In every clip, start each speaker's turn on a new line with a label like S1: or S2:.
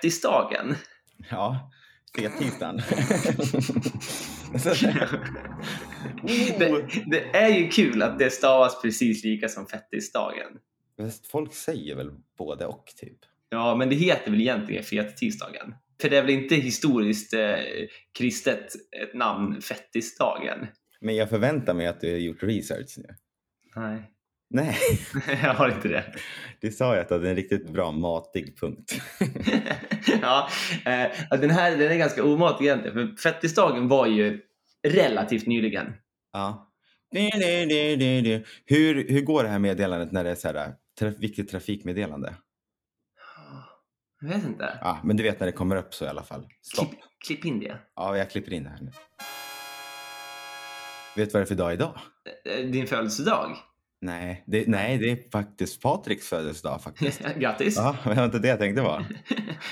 S1: fettisdagen.
S2: Ja, fettisdagen. Oh.
S1: det, det är ju kul att det stavas precis lika som fettisdagen.
S2: Fast Folk säger väl både och typ?
S1: Ja, men det heter väl egentligen fettisdagen? För det är väl inte historiskt eh, kristet ett namn, fettisdagen?
S2: Men jag förväntar mig att du har gjort research nu.
S1: Nej,
S2: Nej,
S1: jag har inte det.
S2: du sa ju att du hade en riktigt bra matig punkt.
S1: ja, eh, den här den är ganska omatig egentligen, för fettisdagen var ju relativt nyligen.
S2: Ja. Du, du, du, du, du. Hur, hur går det här meddelandet när det är så här traf, viktigt trafikmeddelande?
S1: Jag vet inte.
S2: Ja, men du vet när det kommer upp så i alla fall. Stopp.
S1: Klipp, klipp in det.
S2: Ja, jag klipper in det här nu. Vet du vad det är för dag idag?
S1: Eh, Din födelsedag.
S2: Nej, det, nej, det är faktiskt Patriks födelsedag faktiskt.
S1: Grattis!
S2: Ja, men det var inte det jag tänkte vara.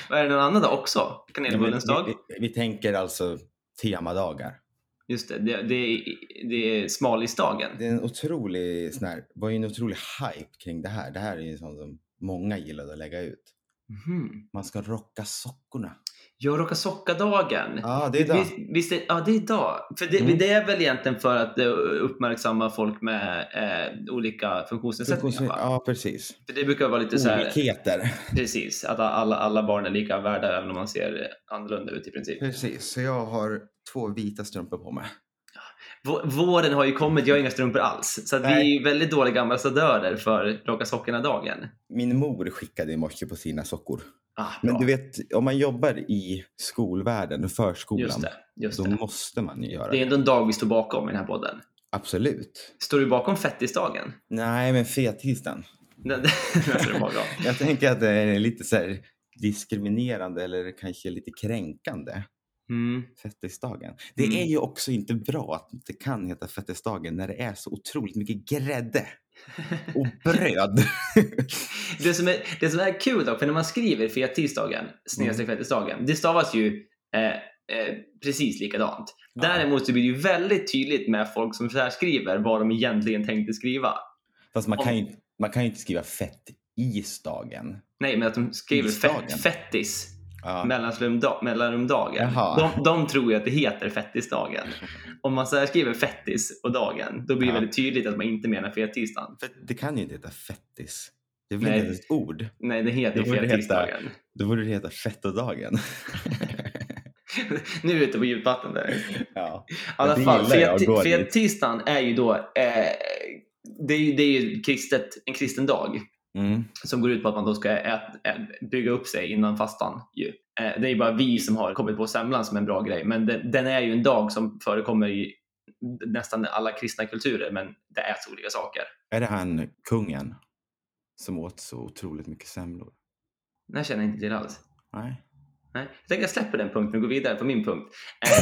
S1: Vad är det någon annan dag också?
S2: Ja, men
S1: Kanelbullens dag?
S2: Vi, vi, vi tänker alltså temadagar.
S1: Just det, det, det, är, det är smalisdagen.
S2: Det är en otrolig sån här, var ju en otrolig hype kring det här. Det här är ju en sån som många gillade att lägga ut.
S1: Mhm.
S2: Man ska rocka sockorna.
S1: Jag råkar socka-dagen.
S2: Ja, det är idag.
S1: Visst, visst är, ja, det är idag. För det,
S2: Mm.
S1: det är väl egentligen för att eh, uppmärksamma folk med eh, olika funktionsnedsättningar.
S2: Funktions-
S1: va?
S2: Ja, precis.
S1: För det brukar vara lite så här,
S2: Olikheter.
S1: precis, att alla, alla barn är lika värda även om man ser annorlunda ut i princip.
S2: Precis, så jag har två vita strumpor på mig.
S1: Vå- Våren har ju kommit, jag har inga strumpor alls. Så att vi är
S2: Nej.
S1: ju väldigt dåliga ambassadörer för Rocka sockorna-dagen.
S2: Min mor skickade i morse på sina sockor.
S1: Ah,
S2: Men
S1: bra.
S2: du vet, om man jobbar i skolvärlden och förskolan,
S1: Just det. Just
S2: då
S1: det.
S2: måste man ju göra
S1: det är
S2: det.
S1: ändå en dag vi står bakom i den här podden.
S2: Absolut.
S1: Står du bakom fettisdagen?
S2: Nej, men fettisdagen.
S1: Den, den står du bakom.
S2: Jag tänker att det är lite så här diskriminerande eller kanske lite kränkande.
S1: Mm.
S2: Fettisdagen. Det
S1: Mm.
S2: är ju också inte bra att det kan heta fettisdagen när det är så otroligt mycket grädde och bröd.
S1: Det som, är, det som är kul dock, för när man skriver fettisdagen, snedstreck
S2: Mm.
S1: fettisdagen, det stavas ju eh, eh, precis likadant.
S2: Ja.
S1: Däremot så blir det ju väldigt tydligt med folk som så här skriver vad de egentligen tänkte skriva.
S2: Fast man
S1: Om-
S2: kan ju, man kan ju inte skriva fettisdagen.
S1: Nej, men att de skriver
S2: Tisdagen.
S1: fett, fettis,
S2: Ja.
S1: mellanrumda, mellanrumdagen.
S2: Jaha.
S1: De, de tror ju att det heter fettisdagen. Om man så här skriver fettis och dagen, då blir det
S2: Ja.
S1: väldigt tydligt att man inte menar fettisdagen.
S2: För det kan ju inte heta fettis. Det är väl
S1: Nej.
S2: inte ens ett ord?
S1: Nej, det
S2: Det
S1: heter
S2: borde heta-
S1: fettisdagen.
S2: Då borde det heta fettodagen.
S1: nu är vi ute på djupt vatten där.
S2: ja.
S1: I alla
S2: Det
S1: fall,
S2: gillar jag, går dit.
S1: fettisdagen är ju då eh, det är ju, det är ju kristet, en kristen dag
S2: Mm.
S1: som går ut på att man då ska ät, ä- bygga upp sig innan fastan. Ju. Eh, det är ju bara vi som har kommit på semlan som en bra grej, men den, den är ju en dag som förekommer i nästan alla kristna kulturer, men det äts olika saker.
S2: Är det han kungen som åt så otroligt mycket semlor?
S1: Den här känner jag inte till alls.
S2: Nej.
S1: Nej. Jag tänker jag släpper den punkten och går vidare på min punkt.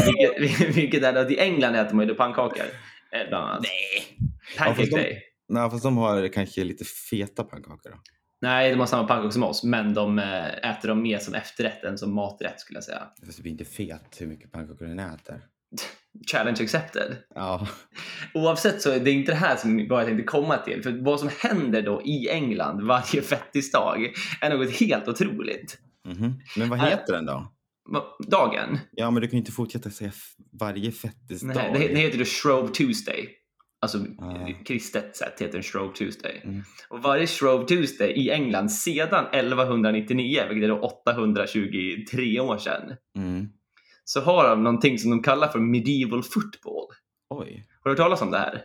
S1: Eh, vilket, vilket är att i England äter man ju då pannkakor. Eh, bland annat.
S2: Nej.
S1: Pancake
S2: fast de-
S1: day.
S2: Nej, fast de har kanske lite feta pannkakor då.
S1: Nej, de har samma pannkakor som oss, men de eh, äter dem mer som efterrätt än som maträtt skulle jag säga.
S2: Fast det blir inte fet hur mycket pannkakor den äter.
S1: Challenge accepted.
S2: Ja.
S1: Oavsett så är det inte det här som vad jag tänkte komma till. För vad som händer då i England varje fettisdag är något helt otroligt.
S2: Mhm. Men vad
S1: Nej.
S2: heter den då?
S1: Va- Dagen?
S2: Ja, men du kan ju inte fortsätta säga f- varje fettisdag.
S1: Nej, det, det heter då Shrove Tuesday. Alltså
S2: Ah.
S1: kristet sett heter det Shrove Tuesday.
S2: Mm.
S1: Och varje Shrove Tuesday i England sedan 1199, vilket är då 823 år sedan,
S2: Mm.
S1: så har de någonting som de kallar för medieval football.
S2: Oj.
S1: Har du hört talas om det här?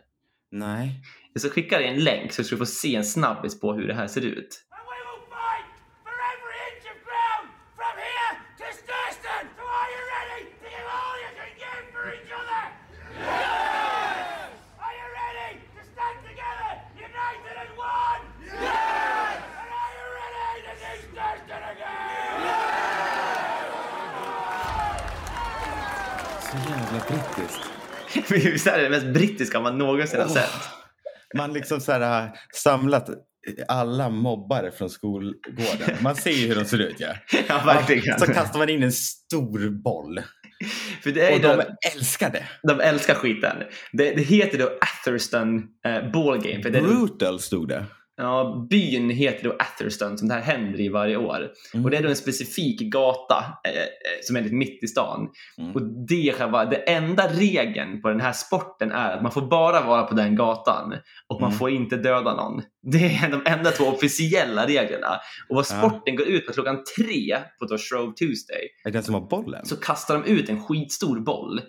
S2: Nej.
S1: Jag ska skicka dig en länk så ska du få se en snabbis på hur det här ser ut.
S3: And we will fight for every inch of ground from here to Sturston! So are you ready to give all you can give for each other? Yes! Are you ready to stand together, united as one? Yes! And are you ready to see Sturston again?
S2: Så jävla brittiskt.
S1: Visst är det det mest brittiska man någonsin har
S2: Åh.
S1: sett?
S2: Man liksom så här, har samlat eh, alla mobbare från skolgården. Man ser ju hur de ser ut. Ja.
S1: Ja, verkligen.
S2: Så kastar man in en stor boll.
S1: För det är
S2: Och
S1: ju då,
S2: de älskar det.
S1: de älskar skiten. Det, det heter då Atherston eh, Ball Game. För det är,
S2: Brutal stod det.
S1: Ja, byn heter då Atherston som det här händer i varje år.
S2: Mm.
S1: Och det är då en specifik gata eh, eh, som är lite mitt i stan.
S2: Mm.
S1: Och det är själva, det enda regeln på den här sporten är att man får bara vara på den gatan och man
S2: Mm.
S1: får inte döda någon. Det är de enda två officiella reglerna. Och vad
S2: Ja.
S1: sporten går ut på klockan tre på då Shrove Tuesday
S2: Är det den som har bollen?
S1: så kastar de ut en skitstor boll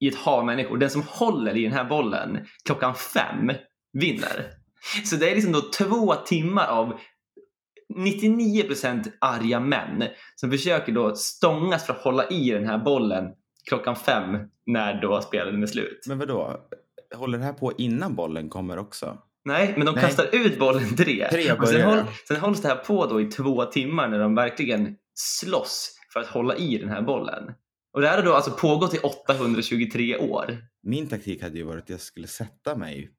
S1: i ett hav människor. Den som håller i den här bollen klockan fem vinner. Så det är liksom då två timmar av 99% arga män som försöker då stångas för att hålla i den här bollen klockan fem när då spelen är slut.
S2: Men vadå? Håller det här på innan bollen kommer också?
S1: Nej, men de
S2: Nej.
S1: kastar ut bollen tre.
S2: Tre
S1: och sen,
S2: börjar
S1: håll,
S2: det.
S1: sen hålls det här på då i två timmar när de verkligen slåss för att hålla i den här bollen. Och det här har då alltså pågått i 823 år.
S2: Min taktik hade ju varit att jag skulle sätta mig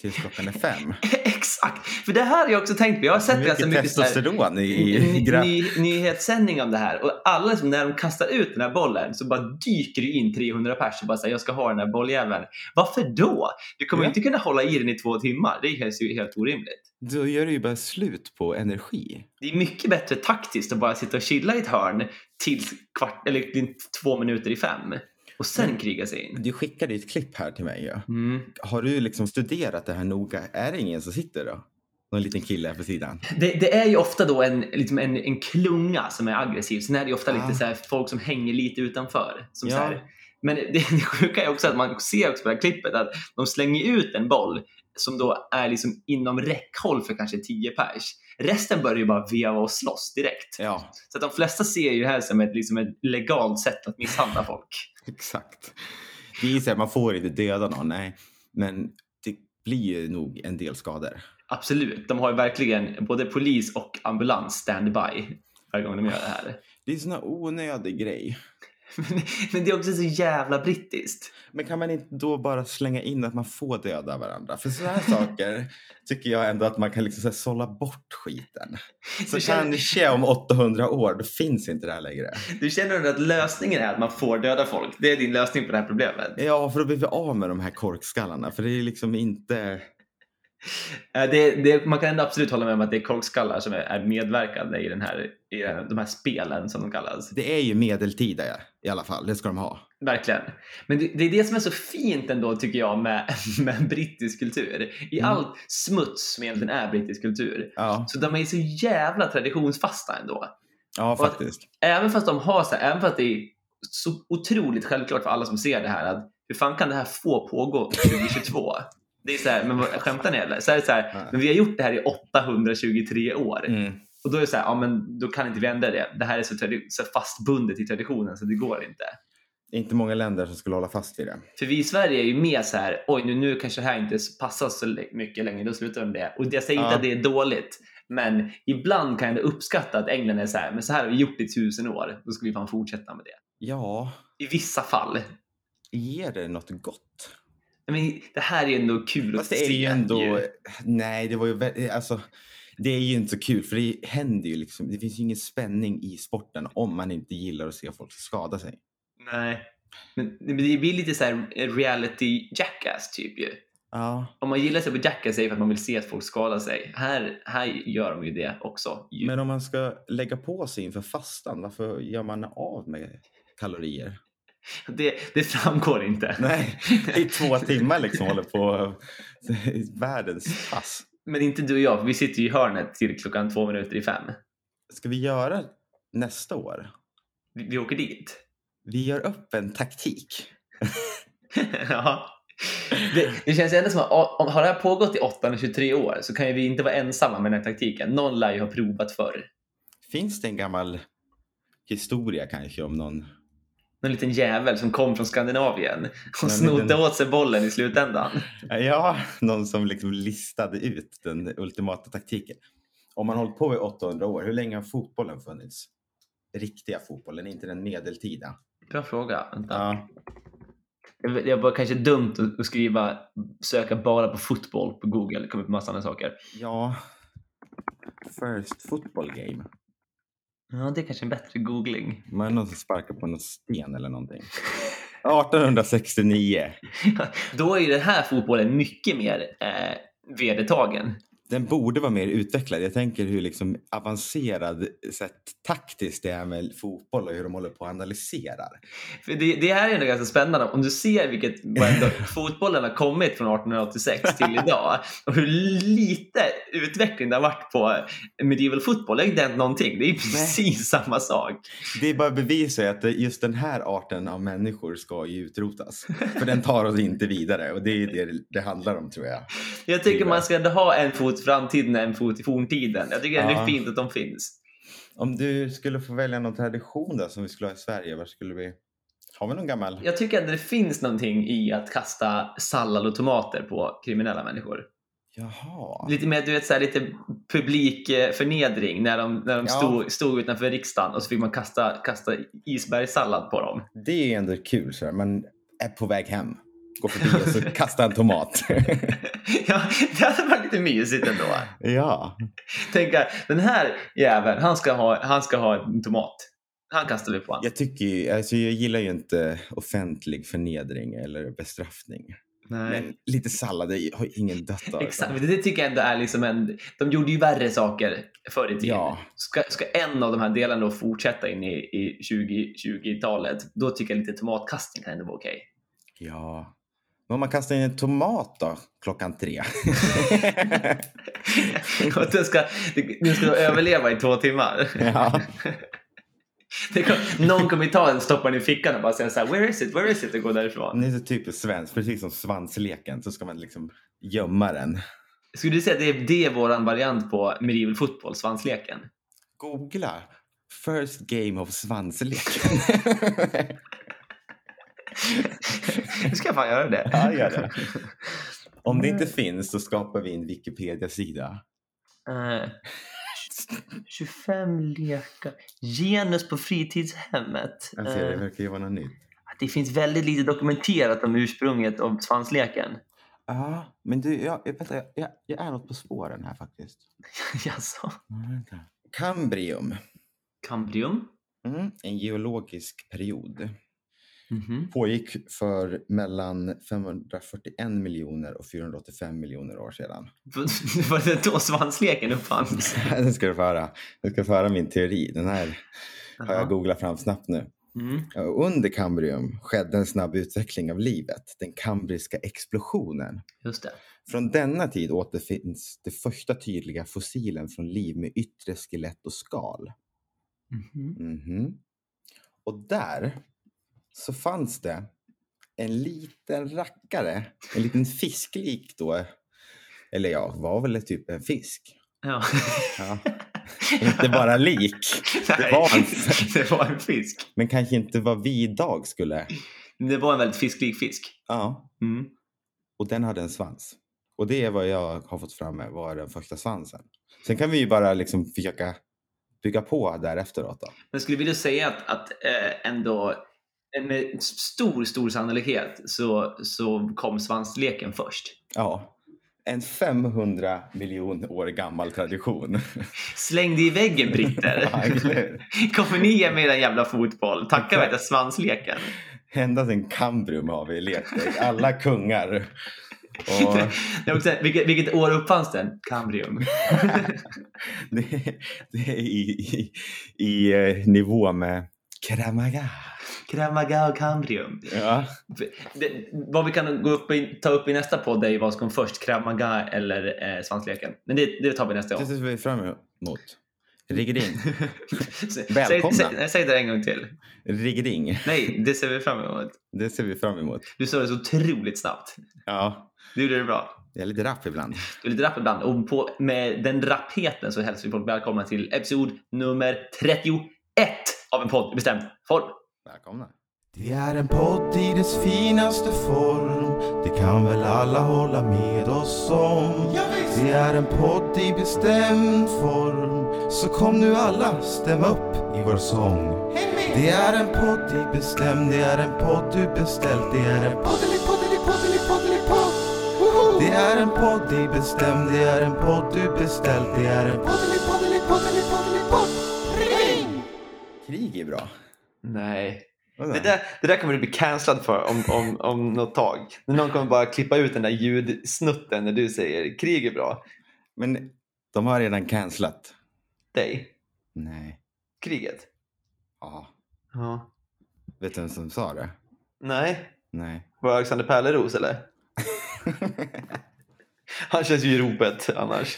S2: tills klockan är fem.
S1: Exakt! För det här har jag också tänkt på. Jag har sett ganska
S2: Mycket
S1: mycket så här-
S2: testosteron i, i, i
S1: ny,
S2: gra-
S1: ny, nyhetssändning om det här och alla som när de kastar ut den här bollen så bara dyker det in 300 pers och bara säger jag ska ha den här bolljäveln. Varför då? Du kommer
S2: Ja.
S1: inte kunna hålla i den i två timmar. Det känns ju helt orimligt.
S2: Då gör det ju bara slut på energi.
S1: Det är mycket bättre taktiskt att bara sitta och chilla i ett hörn till kvart, eller till två minuter i fem och sen
S2: Mm.
S1: kriga sig in.
S2: Du skickade ju ett klipp här till mig. Ja.
S1: Mm.
S2: Har du liksom studerat det här noga? Är det ingen som sitter då? Någon liten kille här på sidan?
S1: Det, det är ju ofta då en, liksom en, en klunga som är aggressiv. Sen är det ju ofta
S2: Ah.
S1: lite så här, folk som hänger lite utanför. Som
S2: Ja.
S1: så här, men det, det sjuka är också att man ser också på det här klippet att de slänger ut en boll som då är liksom inom räckhåll för kanske 10 pers. Resten börjar ju bara veva och slåss direkt.
S2: Ja,
S1: Så att de flesta ser ju det här som ett, liksom ett legalt sätt att misshandla folk.
S2: exakt. Det är ju så här, man får inte döda någon, nej. Men det blir ju nog en del skador.
S1: Absolut, de har ju verkligen både polis och ambulans standby varje gång de gör det här.
S2: Det är en sån här onödig grej.
S1: Men, men det är också så jävla brittiskt.
S2: Men kan man inte då bara slänga in att man får döda varandra? För sådana här saker tycker jag ändå att man kan liksom så här sålla bort skiten. Så
S1: Du känner-
S2: kanske om 800 år, då finns inte det här längre.
S1: Du känner ändå att lösningen är att man får döda folk? Det är din lösning på det här problemet?
S2: Ja, för då blir vi av med de här korkskallarna. För det är liksom inte...
S1: Eh, Det, det, man kan ändå absolut hålla med om att det är korkskallar som är, är medverkande i, den här, i eh, de här spelen som de kallas.
S2: Det är ju medeltida ja, i alla fall. Det ska de ha.
S1: Verkligen. Men det, det är det som är så fint ändå tycker jag med, med brittisk kultur. I
S2: Mm.
S1: allt smuts som egentligen är brittisk kultur.
S2: Ja,
S1: Så de är så jävla traditionsfasta ändå.
S2: ja
S1: Och att-
S2: faktiskt.
S1: Även fast de har så här, även fast det är så otroligt självklart för alla som ser det här att hur fan kan det här få pågå 2022? Det är så här, men vad, skämtar ni eller? Så är det så här,
S2: Nej.
S1: men vi har gjort det här i 823 år
S2: Mm.
S1: och då är det så här, ja men då kan inte vi ändra det. Det här är så, tradi- så fastbundet i traditionen så det går inte.
S2: Det är inte många länder som skulle hålla fast vid det.
S1: För vi i Sverige är ju mer så här, oj nu, nu kanske det här inte passar så le- mycket längre, då slutar de det. Och jag säger inte
S2: Ja.
S1: att det är dåligt, men ibland kan jag ändå uppskatta att England är så här, men så här har vi gjort i tusen år, då ska vi fan fortsätta med det.
S2: Ja,
S1: I vissa fall.
S2: ger det något gott?
S1: I mean, det här är ju ändå kul
S2: Fast
S1: att
S2: det är
S1: se.
S2: ju ändå... Nej, det var ju vä- alltså... Det är ju inte så kul för det händer ju liksom. Det finns ju ingen spänning i sporten om man inte gillar att se folk skada sig.
S1: Nej. Men, men det blir lite så här reality jackass typ ju.
S2: Ja.
S1: Om man gillar sig på jackass är det för att man vill se att folk skadar sig. Här, här gör de ju det också. Ju.
S2: Men om man ska lägga på sig inför fastan, varför gör man av med kalorier?
S1: Det, det framgår inte.
S2: Nej, i två timmar liksom håller på världens pass.
S1: Men inte du och jag, för vi sitter ju i hörnet till klockan två minuter i fem.
S2: Ska vi göra nästa år?
S1: Vi, vi åker dit.
S2: Vi gör upp en taktik.
S1: ja. Det, det känns ändå som att ja, om, har det här pågått i 823 år så kan ju vi inte vara ensamma med den här taktiken. Någon lär ju ha provat förr.
S2: Finns det en gammal historia kanske om någon?
S1: Någon liten jävel som kom från Skandinavien och
S2: Någon
S1: snodde
S2: liten-
S1: åt sig bollen i slutändan.
S2: Ja, någon som liksom listade ut den ultimata taktiken. Om man har hållit på i 800 år, hur länge har fotbollen funnits? Riktiga fotbollen, inte den medeltida.
S1: Bra fråga. Vänta.
S2: Ja,
S1: Det det var kanske dumt att- att skriva söka bara på fotboll på Google. Det kom upp massa andra saker.
S2: ja. First football game.
S1: Ja, det är kanske en bättre googling.
S2: Man är någon som sparkar på någon sten eller någonting. 1869.
S1: Då är ju den här fotbollen mycket mer eh, vedertagen.
S2: den borde vara mer utvecklad. Jag tänker hur liksom avancerad sätt taktiskt det är med fotboll och hur de håller på och analyserar.
S1: För det, det här är ändå ganska spännande om du ser vilket vad ändå, fotbollen har kommit från 1886 till idag och hur lite utveckling det har varit på medieval fotboll. Det har inte hänt någonting. Det är precis samma sak.
S2: Det bara bevisar ju att just den här arten av människor ska ju utrotas. För den tar oss inte vidare och det är ju det det handlar om tror jag.
S1: Jag tycker man ska ändå ha en fot i framtiden och en fot i forntiden. Jag tycker ändå det är
S2: Ja.
S1: fint att de finns.
S2: Om du skulle få välja någon tradition då som vi skulle ha i Sverige, vad skulle vi? Har vi någon gammal?
S1: Jag tycker ändå det finns någonting i att kasta sallad och tomater på kriminella människor.
S2: Jaha.
S1: Lite mer du vet, så här, lite publikförnedring när de, när de
S2: Ja.
S1: stod, stod utanför riksdagen och så fick man kasta, kasta isbergssallad på dem.
S2: Det är ju ändå kul så här. Man är på väg hem, går förbi och så kastar en tomat.
S1: ja, det hade varit lite mysigt ändå.
S2: ja.
S1: Tänka, den här jäveln, han ska ha, han ska ha en tomat. Han kastar vi på honom.
S2: Jag tycker ju, alltså jag gillar ju inte offentlig förnedring eller bestraffning. Men lite sallad jag har ingen dött av.
S1: Exakt, men det tycker jag ändå är liksom en... De gjorde ju värre saker förr i tiden.
S2: Ja.
S1: Ska, ska en av de här delarna då fortsätta in i, i 20 20-talet, då tycker jag lite tomatkastning kan ändå vara okej.
S2: Ja. Men om man kastar in en tomat då, klockan tre?
S1: Och att den ska, den ska då överleva i två timmar.
S2: ja.
S1: Det kom, någon kommer ta den, stoppa den i fickan och bara säga så här, “Where is it? Where is it?” och gå därifrån.
S2: Det är så typiskt svenskt, precis som svansleken så ska man liksom gömma den.
S1: Skulle du säga att det är, det är vår variant på medieval fotboll, svansleken?
S2: Googla first game of svansleken.
S1: Nu ska jag fan göra det.
S2: ja, gör det. Mm. Om det inte finns så skapar vi en Wikipedia-sida.
S1: Eh, 25 lekar. Genus på fritidshemmet.
S2: Jag ser, det
S1: Eh,
S2: verkar ju vara något nytt.
S1: att det finns väldigt lite dokumenterat om ursprunget av svansleken.
S2: Ja, men du, jag, jag, vänta, jag, jag är något på spåren här faktiskt.
S1: Jaså?
S2: Ja, vänta. Kambrium.
S1: Cambrium?
S2: Mm, en geologisk period.
S1: Mhm.
S2: Pågick för mellan 541 miljoner och 485 miljoner år sedan.
S1: Var det då svansleken uppfanns?
S2: Den ska du få höra. Du ska få höra min teori. Den här har
S1: Jaha.
S2: jag googlat fram snabbt nu.
S1: Mm.
S2: Ja, Under Kambrium skedde en snabb utveckling av livet, den kambriska explosionen.
S1: Just det.
S2: Från denna tid återfinns de första tydliga fossilen från liv med yttre skelett och skal.
S1: Mhm.
S2: Mhm. Och där så fanns det en liten rackare, en liten fisklik då. Eller ja, var väl typ en fisk.
S1: Ja.
S2: Ja. inte bara lik,
S1: Nej,
S2: var en-
S1: det var en fisk.
S2: men kanske inte vad vi idag skulle.
S1: Det var en väldigt fisklik fisk.
S2: Ja,
S1: Mm.
S2: och den hade en svans. Och det är vad jag har fått fram med var den första svansen. Sen kan vi ju bara liksom försöka bygga på därefteråt då.
S1: Men skulle vilja säga att, att eh, ändå eh, med stor, stor sannolikhet så, så kom svansleken först.
S2: Ja. En 500 miljon år gammal tradition.
S1: Släng dig i väggen britter!
S2: Ja, eller hur?
S1: Kommer ni ge mig den jävla fotboll? Tacka vet jag svansleken.
S2: Ända sedan Kambrium har vi lekt det. alla kungar. Och
S1: Det är också, vilket, vilket år uppfanns den? Kambrium.
S2: det, det är i, i, i eh, nivå med Kramaga.
S1: Kramaga och Kambrium.
S2: Ja.
S1: Det, vad vi kan gå upp i, ta upp i nästa podd är ju vad som kom först, Kramaga eller eh, svansleken. Men det, det tar vi nästa gång.
S2: Det ser vi fram emot. Riggering.
S1: Säg-
S2: Välkomna.
S1: Säg, säg, säg det en gång till.
S2: Riggering.
S1: Nej, det ser vi fram emot.
S2: Det ser vi fram emot.
S1: Du sa det så otroligt snabbt.
S2: Ja.
S1: Du gjorde det bra.
S2: Jag är lite rapp ibland.
S1: Du är lite rapp ibland och på, med den rappheten så hälsar vi folk välkomna till episod nummer 31 av en podd i bestämd form.
S2: Välkomna.
S3: Det är en podd i dess finaste form Det kan väl alla hålla med oss om Det är en podd i bestämd form Så kom nu alla, stäm upp i vår sång Det är en podd i bestämd Det är en podd du beställt Det är en poddelipoddelipoddelipoddelipodd Det är en podd i bestämd Det är en podd du beställt Det är en poddelipoddelipoddelipoddelipodd Ring!
S2: Krig är bra.
S1: Nej.
S2: Vadå?
S1: Det där, det där kommer du bli cancellad för om, om, om något tag. Någon kommer bara klippa ut den där ljudsnutten när du säger krig är bra.
S2: Men de har redan cancelat.
S1: Dig?
S2: Nej.
S1: Kriget?
S2: Ja.
S1: Ja.
S2: Vet du vem som sa det?
S1: Nej.
S2: Nej.
S1: Var det Alexander Pärleros eller? Han känns ju i ropet annars.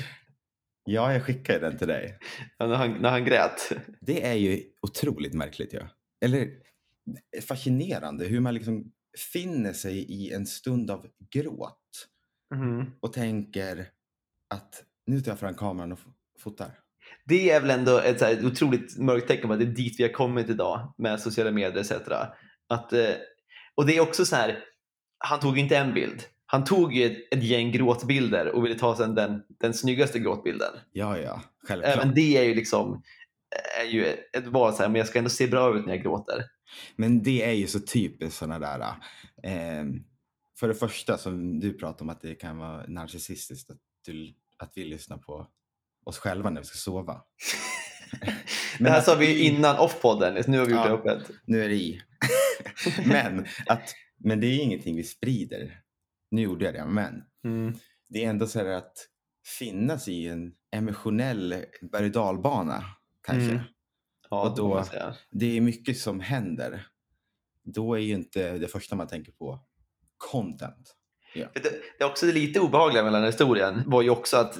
S2: ja, jag skickade den till dig.
S1: Ja, när, han, när han grät.
S2: Det är ju otroligt märkligt. Ja. Eller fascinerande hur man liksom finner sig i en stund av gråt
S1: Mm.
S2: och tänker att nu tar jag fram kameran och f- fotar.
S1: Det är väl ändå ett så här otroligt mörkt tecken på att det är dit vi har kommit idag med sociala medier etc. Att, eh, och det är också så här, han tog ju inte en bild. Han tog ju ett, ett gäng gråtbilder och ville ta sen den, den snyggaste gråtbilden.
S2: Ja, ja, självklart.
S1: Även det är ju liksom är ju ett val, så här, men jag ska ändå se bra ut när jag gråter.
S2: Men det är ju så typiskt sådana där. Eh, för det första som du pratar om att det kan vara narcissistiskt att, du, att vi lyssnar på oss själva när vi ska sova.
S1: det här
S2: att
S1: sa vi ju
S2: vi-
S1: innan off-podden, nu har vi gjort
S2: alltså Ja.
S1: det öppet.
S2: Nu är det i. men, att, men det är ingenting vi sprider. Nu gjorde jag det, men
S1: Mm.
S2: det är ändå så här att finnas i en emotionell berg och dalbana kanske.
S1: Mm. Ja,
S2: Och då-
S1: får man säga.
S2: Det är mycket som händer. Då är ju inte det första man tänker på content.
S1: Det, det är också lite obehagliga med den här historien var ju också att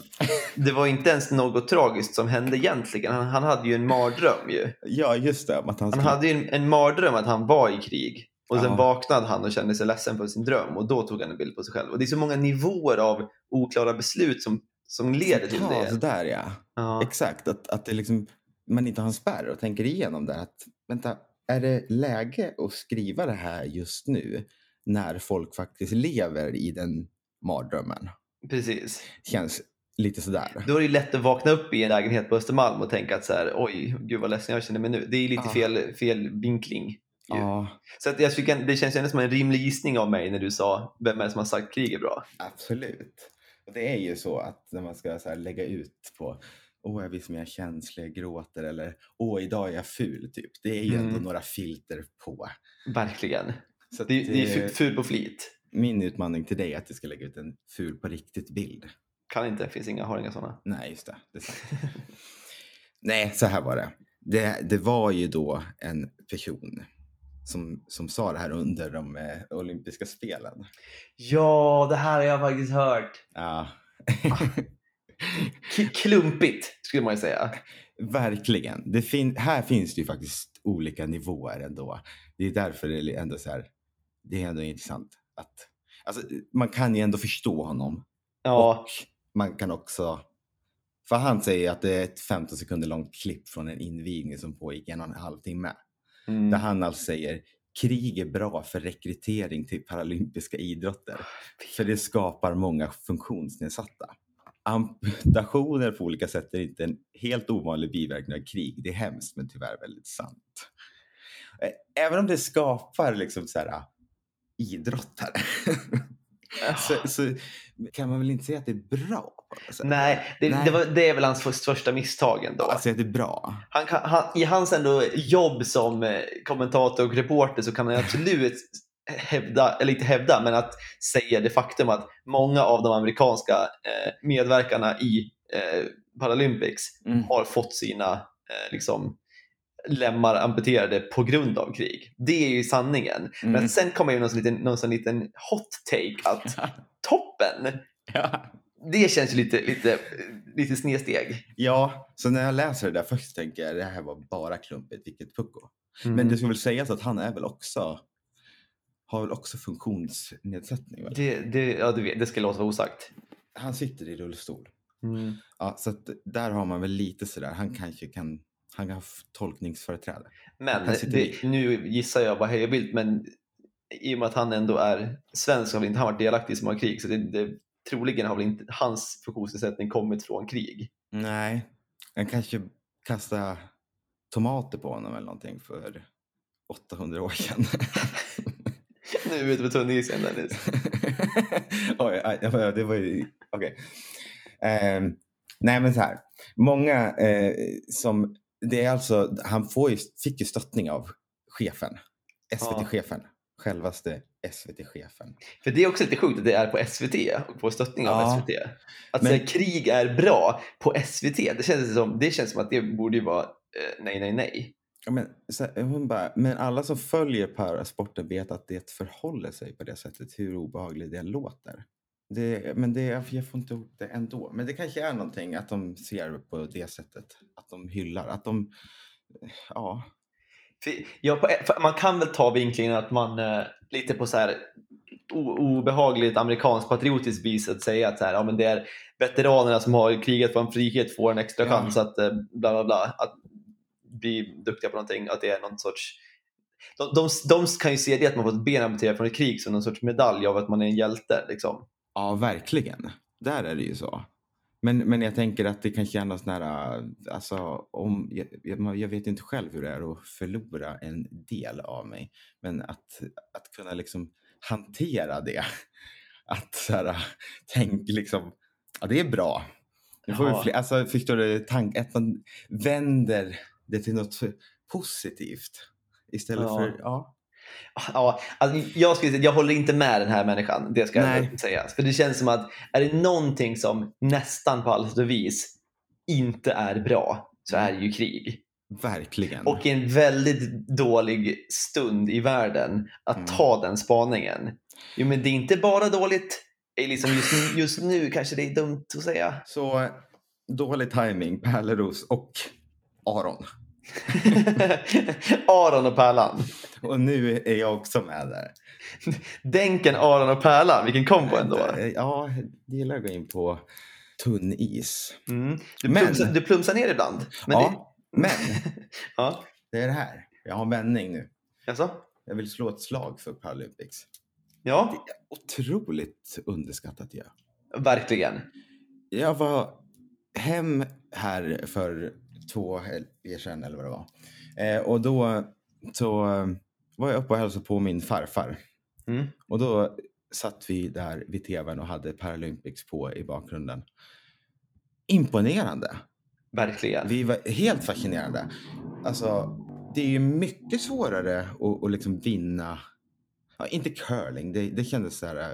S1: det var inte ens något tragiskt som hände egentligen. Han, han hade ju en mardröm ju.
S2: Ja, just det. om Att han
S1: Han
S2: skulle...
S1: hade ju en, en mardröm att han var i krig och sen
S2: Ja.
S1: vaknade han och kände sig ledsen för sin dröm och då tog han en bild på sig själv. Och det är så många nivåer av oklara beslut som, som leder till
S2: Ja,
S1: det.
S2: sådär ja.
S1: Ja.
S2: Exakt. Att, att det liksom, man inte har en spärr och tänker igenom det. Att, vänta, är det läge att skriva det här just nu? När folk faktiskt lever i den mardrömmen.
S1: Precis.
S2: Känns lite sådär.
S1: Då är det ju lätt att vakna upp i en lägenhet på Östermalm och tänka att så här, oj, gud vad ledsen jag känner mig nu. Det är lite
S2: Ja.
S1: fel, fel vinkling.
S2: Ja,
S1: Så att jag tycker, det känns ju ändå som en rimlig gissning av mig när du sa vem är det som har sagt krig är bra.
S2: absolut. Och det är ju så att när man ska så här lägga ut på Åh, jag visar mina känslor, jag gråter eller Åh, idag är jag ful, typ. Det är ju ändå
S1: Mm.
S2: några filter på.
S1: Verkligen.
S2: Så att
S1: Det, det är fu- ful på flit.
S2: min utmaning till dig är att du ska lägga ut en ful på riktigt-bild.
S1: Kan inte, finns inga, har inga sådana.
S2: Nej, just det. det är sant. Nej, så här var det. det. Det var ju då en person som, som sa det här under de eh, olympiska spelen.
S1: Ja, det här har jag faktiskt hört.
S2: Ja,
S1: K- klumpigt skulle man ju säga.
S2: verkligen. Det fin- här finns det ju faktiskt olika nivåer ändå. Det är därför det är ändå så här. Det är ändå intressant att alltså, man kan ju ändå förstå honom.
S1: Ja,
S2: Och man kan också... För han säger att det är ett 15 sekunder långt klipp från en invigning som pågick en och en halv timme.
S1: mm.
S2: Där han alltså säger krig är bra för rekrytering till paralympiska idrotter. För det skapar många funktionsnedsatta. Amputationer på olika sätt är inte en helt ovanlig biverkning av krig. Det är hemskt men tyvärr väldigt sant. Eh, Även om det skapar liksom så här ah, idrottare så, så kan man väl inte säga att det är bra? på något sätt?
S1: Nej, det,
S2: Nej.
S1: Det, var, det är väl hans först- första misstag ändå.
S2: Alltså att det är bra.
S1: han kan, han, I hans ändå jobb som eh, kommentator och reporter så kan han absolut hävda, eller inte hävda, men att säga det faktum att många av de amerikanska eh, medverkarna i eh, Paralympics
S2: Mm.
S1: har fått sina eh, liksom, lemmar amputerade på grund av krig. Det är ju sanningen. Men
S2: Mm.
S1: sen kommer ju någon sån liten, någon sån liten hot take att toppen,
S2: Ja.
S1: det känns ju lite, lite, lite snedsteg.
S2: ja, så när jag läser det där först tänker jag det här var bara klumpigt, vilket pucko.
S1: Mm.
S2: Men det ska väl sägas att han är väl också har väl också funktionsnedsättning. Väl?
S1: Det, det, ja, det, vet- det ska låta vara osagt.
S2: Han sitter i rullstol. Ja, så att där har man väl lite sådär. Han kanske kan, han kan ha f- tolkningsföreträde.
S1: Men
S2: Han sitter
S1: det, nu gissar jag bara hej och bild, men i och med att han ändå är svensk har väl inte han varit delaktig i så många krig, så det, det, troligen har väl inte hans funktionsnedsättning kommit från krig.
S2: Nej, han kanske kastade tomater på honom eller någonting för 800 år sedan.
S1: Nu är vi ute på tunn is igen Dennis.
S2: Oj, aj, det var- det var ju... Okej. Ehm, nej, men så här. Många eh, som... Det är alltså, han får ju, fick ju stöttning av chefen. SVT-chefen. Självaste SVT-chefen.
S1: För det är också lite sjukt att det är på SVT och på stöttning av
S2: Ja.
S1: SVT. Att
S2: Men-
S1: säga krig är bra på SVT, det känns som, det känns som att det borde ju vara eh, nej, nej, nej.
S2: Ja, men, så, här, hon bara, men alla som följer parasporten vet att det förhåller sig på det sättet, hur obehaglig det låter. Det, men det, jag får inte ihop det ändå. Men det kanske är någonting att de ser på det sättet. Att de hyllar, att de... Ja.
S1: För, ja, på, för man kan väl ta vinklingen att man eh, lite på så här o, obehagligt amerikanskt patriotiskt vis att säga att så här, ja, men det är veteranerna som har krigat för en frihet får en extra
S2: Ja.
S1: chans att eh, bla bla bla. Att bli duktiga på någonting, att det är någon sorts de, de, de kan ju se det att man fått ben amputerade från ett krig som någon sorts medalj av att man är en hjälte. Liksom.
S2: Ja, verkligen. Där är det ju så. Men, men jag tänker att det kanske är någon sån här, äh, alltså om, jag, jag- man- jag vet inte själv hur det är att förlora en del av mig, men att, att kunna liksom hantera det. Att så här, äh, tänk liksom, ja det är bra. Nu får vi
S1: Ja.
S2: fler, alltså förstår du, tank, att man vänder det till något positivt istället
S1: Ja.
S2: för, ja.
S1: Ja, alltså jag, skulle, säga- jag håller inte med den här människan, det ska
S2: Nej.
S1: jag säga. För det känns som att är det någonting som nästan på allt och vis inte är bra så
S2: Mm.
S1: är det ju krig.
S2: Verkligen.
S1: Och i en väldigt dålig stund i världen att
S2: Mm.
S1: ta den spaningen. Jo, men det är inte bara dåligt. Det är liksom just, nu- just nu kanske det är dumt att säga.
S2: Så dålig timing, Pärleros och Aron.
S1: Aron och Pärlan.
S2: Och nu är jag också med där.
S1: Denken, Aron och Pärlan. Vilken kombo ändå.
S2: Ja, jag gillar att gå in på tunn is.
S1: Mm. Du,
S2: Men-
S1: plumsar, du plumsar ner ibland. Men det,
S2: ja, men
S1: ja.
S2: det är det här. Jag har en vändning nu.
S1: Jaså?
S2: Jag vill slå ett slag för Paralympics.
S1: Ja,
S2: Otroligt underskattat jag.
S1: verkligen.
S2: Jag var hem här för två helger sedan eller vad det var. Eh, och då så eh, var jag uppe och hälsade på min farfar.
S1: Mm.
S2: Och då satt vi där vid tvn och hade Paralympics på i bakgrunden. Imponerande.
S1: Verkligen.
S2: Vi var helt fascinerande. Alltså, det är ju mycket svårare att, att liksom vinna. Ja, inte curling, det, det kändes så här, eh,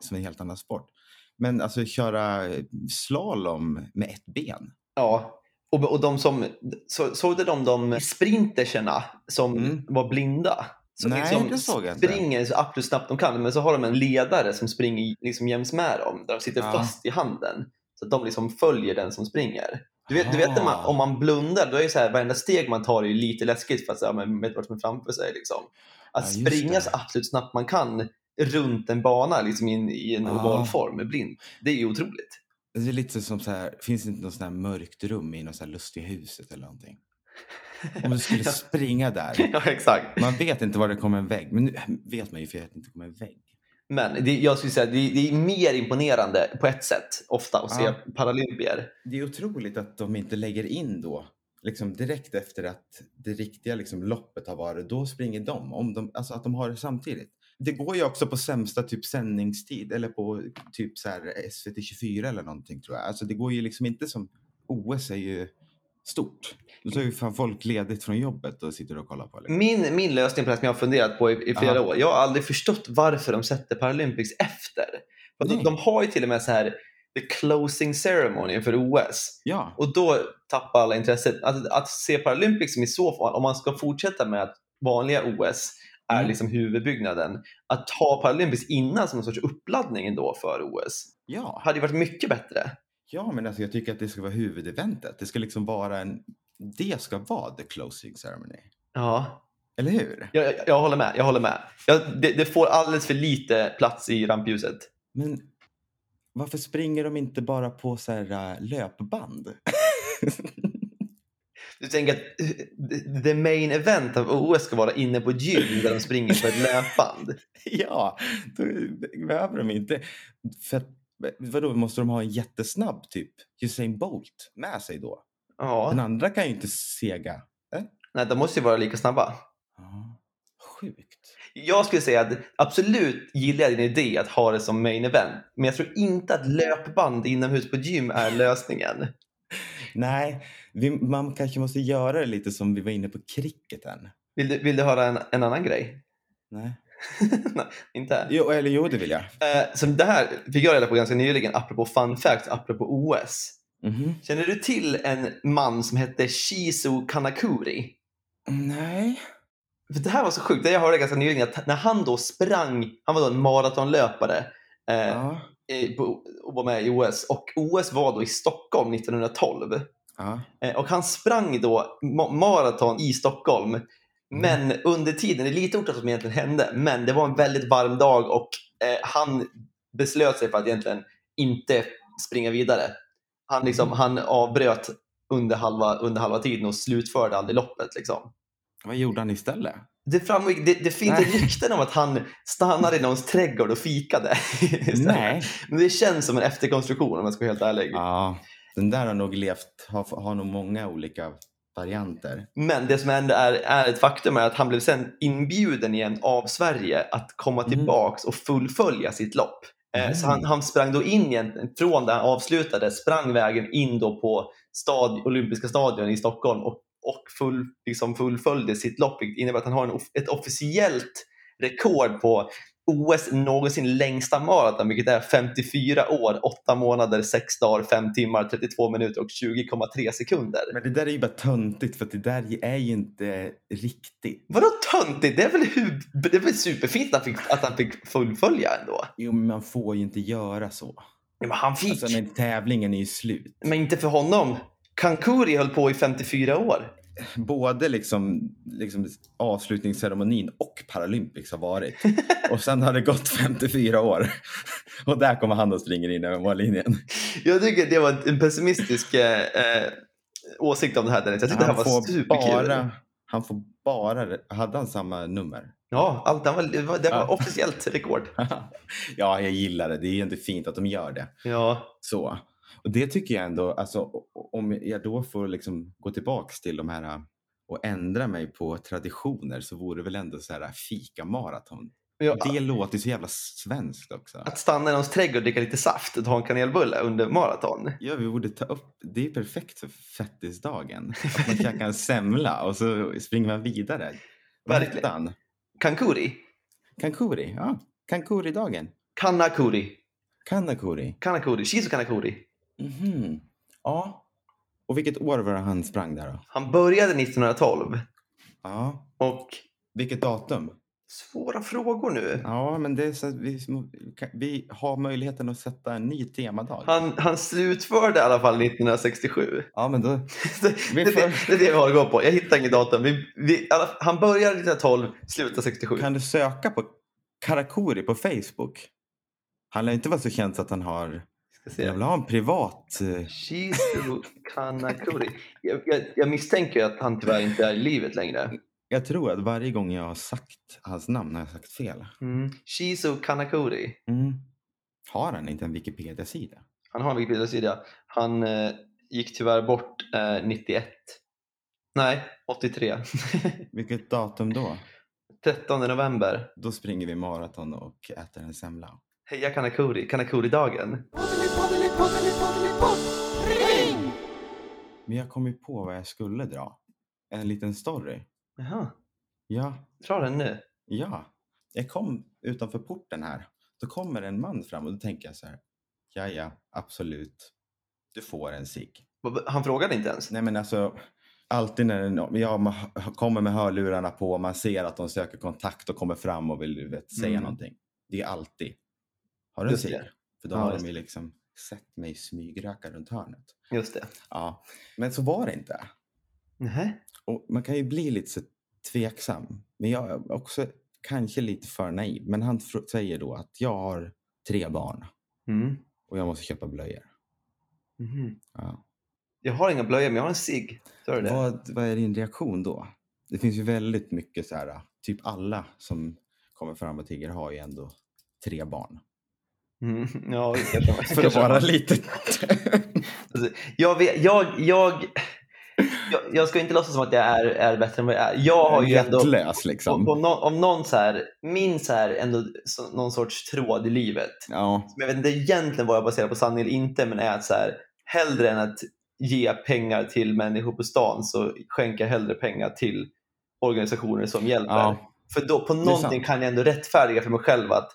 S2: som en helt annan sport. Men alltså köra slalom med ett ben.
S1: Ja. Och, och de som, så, såg du de, de sprinterserna som
S2: Mm.
S1: var blinda? Som liksom
S2: Nej, det såg jag inte.
S1: springer så absolut snabbt de kan, men så har de en ledare som springer liksom jäms med dem, där de sitter
S2: Ja.
S1: fast i handen. Så att de liksom följer den som springer. Du vet, du vet när man,
S2: Ah.
S1: om man blundar, då är det så här, varenda steg man tar är ju lite läskigt för att säga, man vet vad som är framför sig. Liksom. Att
S2: Ja, just
S1: springa
S2: det.
S1: så absolut snabbt man kan runt en bana liksom i en, i en
S2: Ah.
S1: oval form med blind, det är ju otroligt.
S2: Det är lite som så här, finns det inte något sån här mörkt rum i något så här lustiga huset eller någonting? Om du skulle springa där.
S1: Ja, exakt.
S2: Man vet inte var det kommer en vägg. Men nu vet man ju för att det inte kommer en vägg.
S1: Men det, jag skulle säga att det, det är mer imponerande på ett sätt ofta att se
S2: Ja.
S1: paralympier.
S2: Det är otroligt att de inte lägger in då, liksom direkt efter att det riktiga liksom loppet har varit, då springer de. Om de alltså att de har det samtidigt. Det går ju också på sämsta typ sändningstid eller på typ så här SVT 24 eller någonting tror jag. Alltså det går ju liksom inte som OS är ju stort. Då tar ju fan folk ledigt från jobbet och sitter och kollar på. Liksom.
S1: Min, min lösning på det här som jag har funderat på i, i flera
S2: Ja.
S1: år. Jag har aldrig förstått varför de sätter Paralympics efter. För de,
S2: Nej.
S1: de har ju till och med så här the closing ceremony för OS.
S2: Ja,
S1: Och då tappar alla intresset. Att, att se Paralympics som i så fall, om man ska fortsätta med att vanliga OS är
S2: Mm.
S1: liksom huvudbyggnaden. Att ta Paralympics innan som en sorts uppladdning ändå för OS
S2: ja,
S1: hade ju varit mycket bättre.
S2: ja, men alltså jag tycker att det ska vara huvudeventet. Det ska liksom vara en. Det ska vara the closing ceremony,
S1: Ja,
S2: eller hur?
S1: Jag, jag, jag håller med. Jag håller med. Jag, det, det får alldeles för lite plats i rampljuset.
S2: Men varför springer de inte bara på så här äh, löpband?
S1: Du tänker att eh, the- the main event av OS ska vara inne på ett gym där de springer på ett löpband.
S2: ja, då behöver de inte. För att, vadå, måste de ha en jättesnabb typ Usain Bolt med sig då? Den
S1: Ja,
S2: andra kan ju inte sega.
S1: nej, de måste ju vara lika snabba.
S2: Ja, Sjukt.
S1: Jag skulle säga att absolut gillar jag din idé att ha det som main event, men jag tror inte att löpband inomhus på ett gym är lösningen.
S2: Nej, vi, man kanske måste göra det lite som vi var inne på cricketen.
S1: Vill du, vill du höra en, en annan grej?
S2: Nej.
S1: Nej, inte här.
S2: Jo, eller jo, det vill jag.
S1: Eh, så det här fick jag reda på ganska nyligen, apropå fun facts, apropå OS.
S2: Mhm.
S1: Känner du till en man som hette Shizu Kanakuri?
S2: Nej.
S1: För det här var så sjukt, det jag hörde ganska nyligen, att när han då sprang, han var då en maratonlöpare eh,
S2: Ja.
S1: i- på- och var med i OS. Och OS var då i Stockholm 1912.
S2: ja.
S1: Eh, Och han sprang då ma- maraton i Stockholm.
S2: Mm.
S1: Men under tiden, det är lite oklart vad som egentligen hände, men det var en väldigt varm dag och eh, han beslöt sig för att egentligen inte springa vidare. Han, liksom,
S2: Mm.
S1: han avbröt under halva, under halva tiden och slutförde aldrig loppet. Liksom.
S2: Vad gjorde han istället?
S1: Det, framgick, det, det finns
S2: Nej.
S1: rykten om att han stannade i någons trädgård och fikade. istället.
S2: Nej.
S1: Men det känns som en efterkonstruktion om jag ska vara helt ärlig.
S2: Ja, den där har nog levt, har, har nog många olika varianter.
S1: Men det som ändå är, är ett faktum är att han blev sen inbjuden igen av Sverige att komma
S2: Mm.
S1: tillbaks och fullfölja sitt lopp. Eh, Så han,
S2: Mm.
S1: han sprang då in egentligen från där han avslutade, sprang vägen in då på stad, olympiska stadion i Stockholm och, och full, liksom fullföljde sitt lopp vilket innebär att han har en, off- ett officiellt rekord på OS någonsin längsta maraton vilket är 54 år, 8 månader, 6 dagar, 5 timmar, 32 minuter och 20,3 sekunder.
S2: Men det där är ju bara töntigt för att det där är ju inte riktigt.
S1: Vadå töntigt? Det är väl, hur, det är väl superfint att han, fick, att han fick fullfölja ändå?
S2: Jo, men man får ju inte göra så.
S1: Ja, men han fick!
S2: Alltså, men tävlingen är ju slut.
S1: Men inte för honom. Kankuri höll på i 54 år.
S2: Både liksom, liksom avslutningsceremonin och Paralympics har varit. Och sen har det gått 54 år. Och där kommer han och springer in över mållinjen.
S1: Jag tycker det var en pessimistisk eh, eh, åsikt om det här Dennis. Jag tyckte det här var superkul.
S2: bara, han får bara... Hade han samma nummer?
S1: Ja, allt, det var, det var, det var
S2: Ja.
S1: officiellt rekord.
S2: ja, jag gillar det. Det är ju inte fint att de gör det.
S1: Ja.
S2: Så. Och det tycker jag ändå, alltså, o- o- om jag då får liksom gå tillbaks till de här äh, och ändra mig på traditioner så vore det väl ändå så här äh, fikamaraton.
S1: Ja,
S2: Det låter ju så jävla svenskt också.
S1: Att stanna i någons trädgård och dricka lite saft och ta en kanelbulle under maraton.
S2: Ja, vi borde ta upp, det är ju perfekt för fettisdagen. Att man käkar en semla och så springer man vidare. Vad
S1: Verkligen.
S2: hette han?
S1: Kankuri.
S2: Kankuri, ja. Kankuri-dagen.
S1: Kanakuri.
S2: Kanakuri.
S1: Kanakuri. Shizu Kanakuri.
S2: Mhm. Ja. Och vilket år var det han sprang där då?
S1: Han började 1912
S2: Ja.
S1: och
S2: Vilket datum?
S1: Svåra frågor nu.
S2: Ja, men det är så att vi, vi har möjligheten att sätta en ny temadag.
S1: Han, han slutförde i alla fall 1967.
S2: Ja, men då...
S1: Det,
S2: Vi
S1: det,
S2: får-
S1: det, det är det vi har att gå på. Jag hittar inget datum. Vi, vi, alla, han började 1912, slutade 67.
S2: Kan du söka på Karakuri på Facebook? Han lär inte vara så känd så att han har...
S1: Ska se.
S2: Jag vill ha en privat... eh,
S1: Shizu Kanakuri. Jag, jag, jag misstänker ju att han tyvärr inte är i livet längre.
S2: Jag tror att varje gång jag har sagt hans namn har jag sagt fel.
S1: Mm. Shizu Kanakuri.
S2: Mm. Har han inte en Wikipedia-sida?
S1: Han har en Wikipedia-sida. Han eh, gick tyvärr bort eh, 91. Nej, 83.
S2: Vilket datum då?
S1: 13 november.
S2: Då springer vi maraton och äter en semla.
S1: Heja Kanakuri. Kanakuri-dagen.
S2: Men jag kom ju på vad jag skulle dra. En liten story.
S1: Jaha,
S2: Ja,
S1: dra den nu.
S2: ja. Jag kom utanför porten här. Då kommer en man fram och då tänker jag så här. Ja, ja, absolut. Du får en cigg.
S1: Vad- Han frågade inte ens.
S2: Nej, men alltså. Alltid när någon, ja, man h- kommer med hörlurarna på och man ser att de söker kontakt och kommer fram och vill du vet, säga
S1: Mm.
S2: någonting. Det är alltid. Har du en
S1: Just
S2: cigg?
S1: det.
S2: För då
S1: Ja,
S2: har
S1: just
S2: de ju liksom sett mig smygröka runt hörnet.
S1: Just det.
S2: Ja, men så var det inte.
S1: Nej.
S2: Och man kan ju bli lite så tveksam. Men jag är också kanske lite för naiv. Men han fr- säger då att jag har tre barn
S1: Mm.
S2: och jag måste köpa blöjor.
S1: Mhm.
S2: Ja.
S1: Jag har inga blöjor, men jag har en cigg. Sa du det?
S2: Vad, vad är din reaktion då? Det finns ju väldigt mycket så här, typ alla som kommer fram och tigger har ju ändå tre barn.
S1: Mm. Ja, det kanske man-
S2: För att
S1: kanske man-
S2: vara lite...
S1: Alltså, jag, vet, jag, jag, jag, jag ska inte låtsas som att jag är, är bättre än vad jag är. Jag har ju ändå...
S2: Hjärtlös
S1: Om,
S2: liksom.
S1: om någon, om någon så här, min så här, ändå, så, någon sorts tråd i livet.
S2: Ja,
S1: Men jag vet inte egentligen vad jag baserar på sanning eller inte, men är att så här, hellre än att ge pengar till människor på stan så skänker jag hellre pengar till organisationer som hjälper.
S2: ja.
S1: För då på
S2: är
S1: någonting
S2: sant.
S1: kan jag ändå rättfärdiga för mig själv att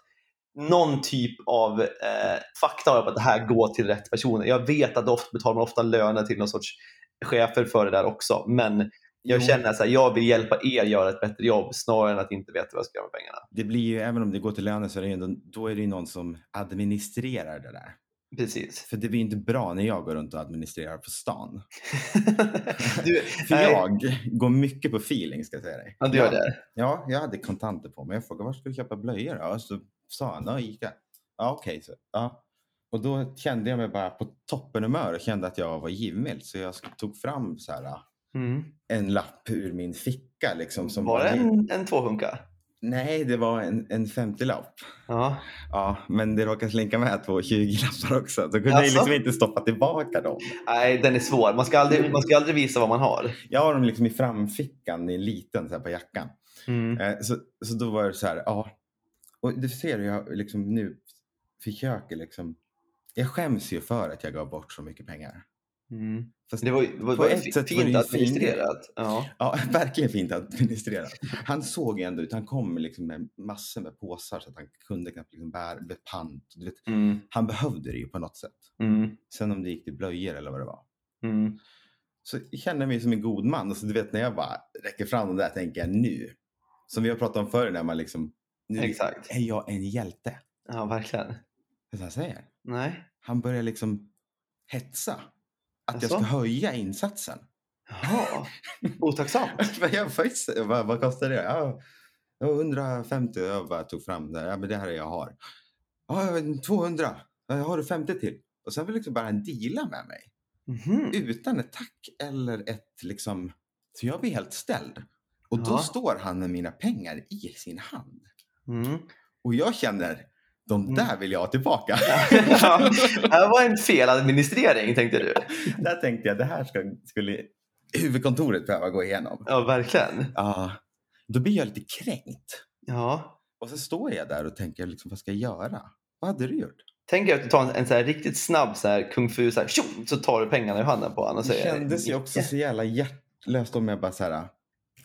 S1: någon typ av eh, fakta har jag på att det här går till rätt personer. Jag vet att ofta betalar man ofta löner till någon sorts chefer för det där också. Men jag
S2: Jo.
S1: känner att jag vill hjälpa er göra ett bättre jobb snarare än att inte veta vad jag ska göra med pengarna.
S2: Det blir ju, även om det går till lönen så är det ju ändå, då är det ju någon som administrerar det där.
S1: Precis.
S2: För det blir ju inte bra när jag går runt och administrerar på stan.
S1: du,
S2: För
S1: nej,
S2: jag går mycket på feeling ska jag säga dig.
S1: ja, du gör det.
S2: Ja, jag hade kontanter på mig. Jag frågade var ska du köpa blöjor då? Och så sa han, ja, Ica. Ja, okej. så. Ja. Och då kände jag mig bara på toppenhumör och kände att jag var givmild. Så jag tog fram så här,
S1: Mm.
S2: en lapp ur min ficka. Liksom, som
S1: Var det
S2: bara-
S1: en, en tvåhunka?
S2: Nej, det var en, en 50-lapp.
S1: Ja.
S2: Ja, men det råkade slinka med två 20-lappar också. Så kunde jag
S1: Jaså?
S2: liksom inte stoppa tillbaka dem.
S1: Nej, den är svår. Man ska aldrig, man ska aldrig visa vad man har.
S2: Jag har dem liksom i framfickan, i en liten så här på jackan.
S1: Mm.
S2: Eh, Så, så då var det så här, ja. Och du ser hur jag liksom nu försöker liksom. Jag skäms ju för att jag gav bort så mycket pengar.
S1: Mm.
S2: Fast
S1: Det var, ju- det var,
S2: på
S1: var
S2: ett
S1: fint
S2: sätt var det ju
S1: administrerat. Ja.
S2: Ja, verkligen fint administrerat. Han såg ju ändå ut, han kom liksom med massor med påsar så att han kunde knappt liksom bära med pant. Du vet,
S1: Mm.
S2: han behövde det ju på något sätt.
S1: Mm.
S2: Sen om det gick till blöjor eller vad det var.
S1: Mm.
S2: Så jag känner mig som en god man. Och så du vet när jag bara räcker fram den där tänker jag nu. Som vi har pratat om förr när man liksom. Nu
S1: Exakt.
S2: är jag en hjälte.
S1: Ja, verkligen.
S2: Det är så han säger.
S1: Nej.
S2: han börjar liksom hetsa. Att jag ska
S1: Jaså?
S2: höja insatsen.
S1: Jaha. Otacksamt.
S2: Men jag faktiskt, jag bara, vad kostar det? Ja, det var 150 jag bara tog fram det. Ja, men det här är jag har. Ja, jag vet inte, 200. Ja, Jag har du 50 till. Och sen vill liksom bara han deala med mig.
S1: Mhm.
S2: Utan ett tack eller ett liksom. Så jag blir helt ställd. Och då
S1: Ja.
S2: står han med mina pengar i sin hand.
S1: Mm.
S2: Och jag känner, de där vill jag ha tillbaka.
S1: Ja, det här var en feladministrering tänkte du.
S2: där tänkte jag, det här ska, skulle huvudkontoret behöva gå igenom.
S1: Ja, verkligen.
S2: Ja. Då blir jag lite kränkt.
S1: Ja.
S2: Och så står jag där och tänker, liksom, vad ska jag göra? Vad hade du gjort?
S1: Tänk er att du tar en, en så här riktigt snabb så här kung fu så här tjong, så tar du pengarna ur handen på honom och
S2: Det
S1: säger
S2: kändes ju också så jävla hjärtlöst om jag bara så här, nej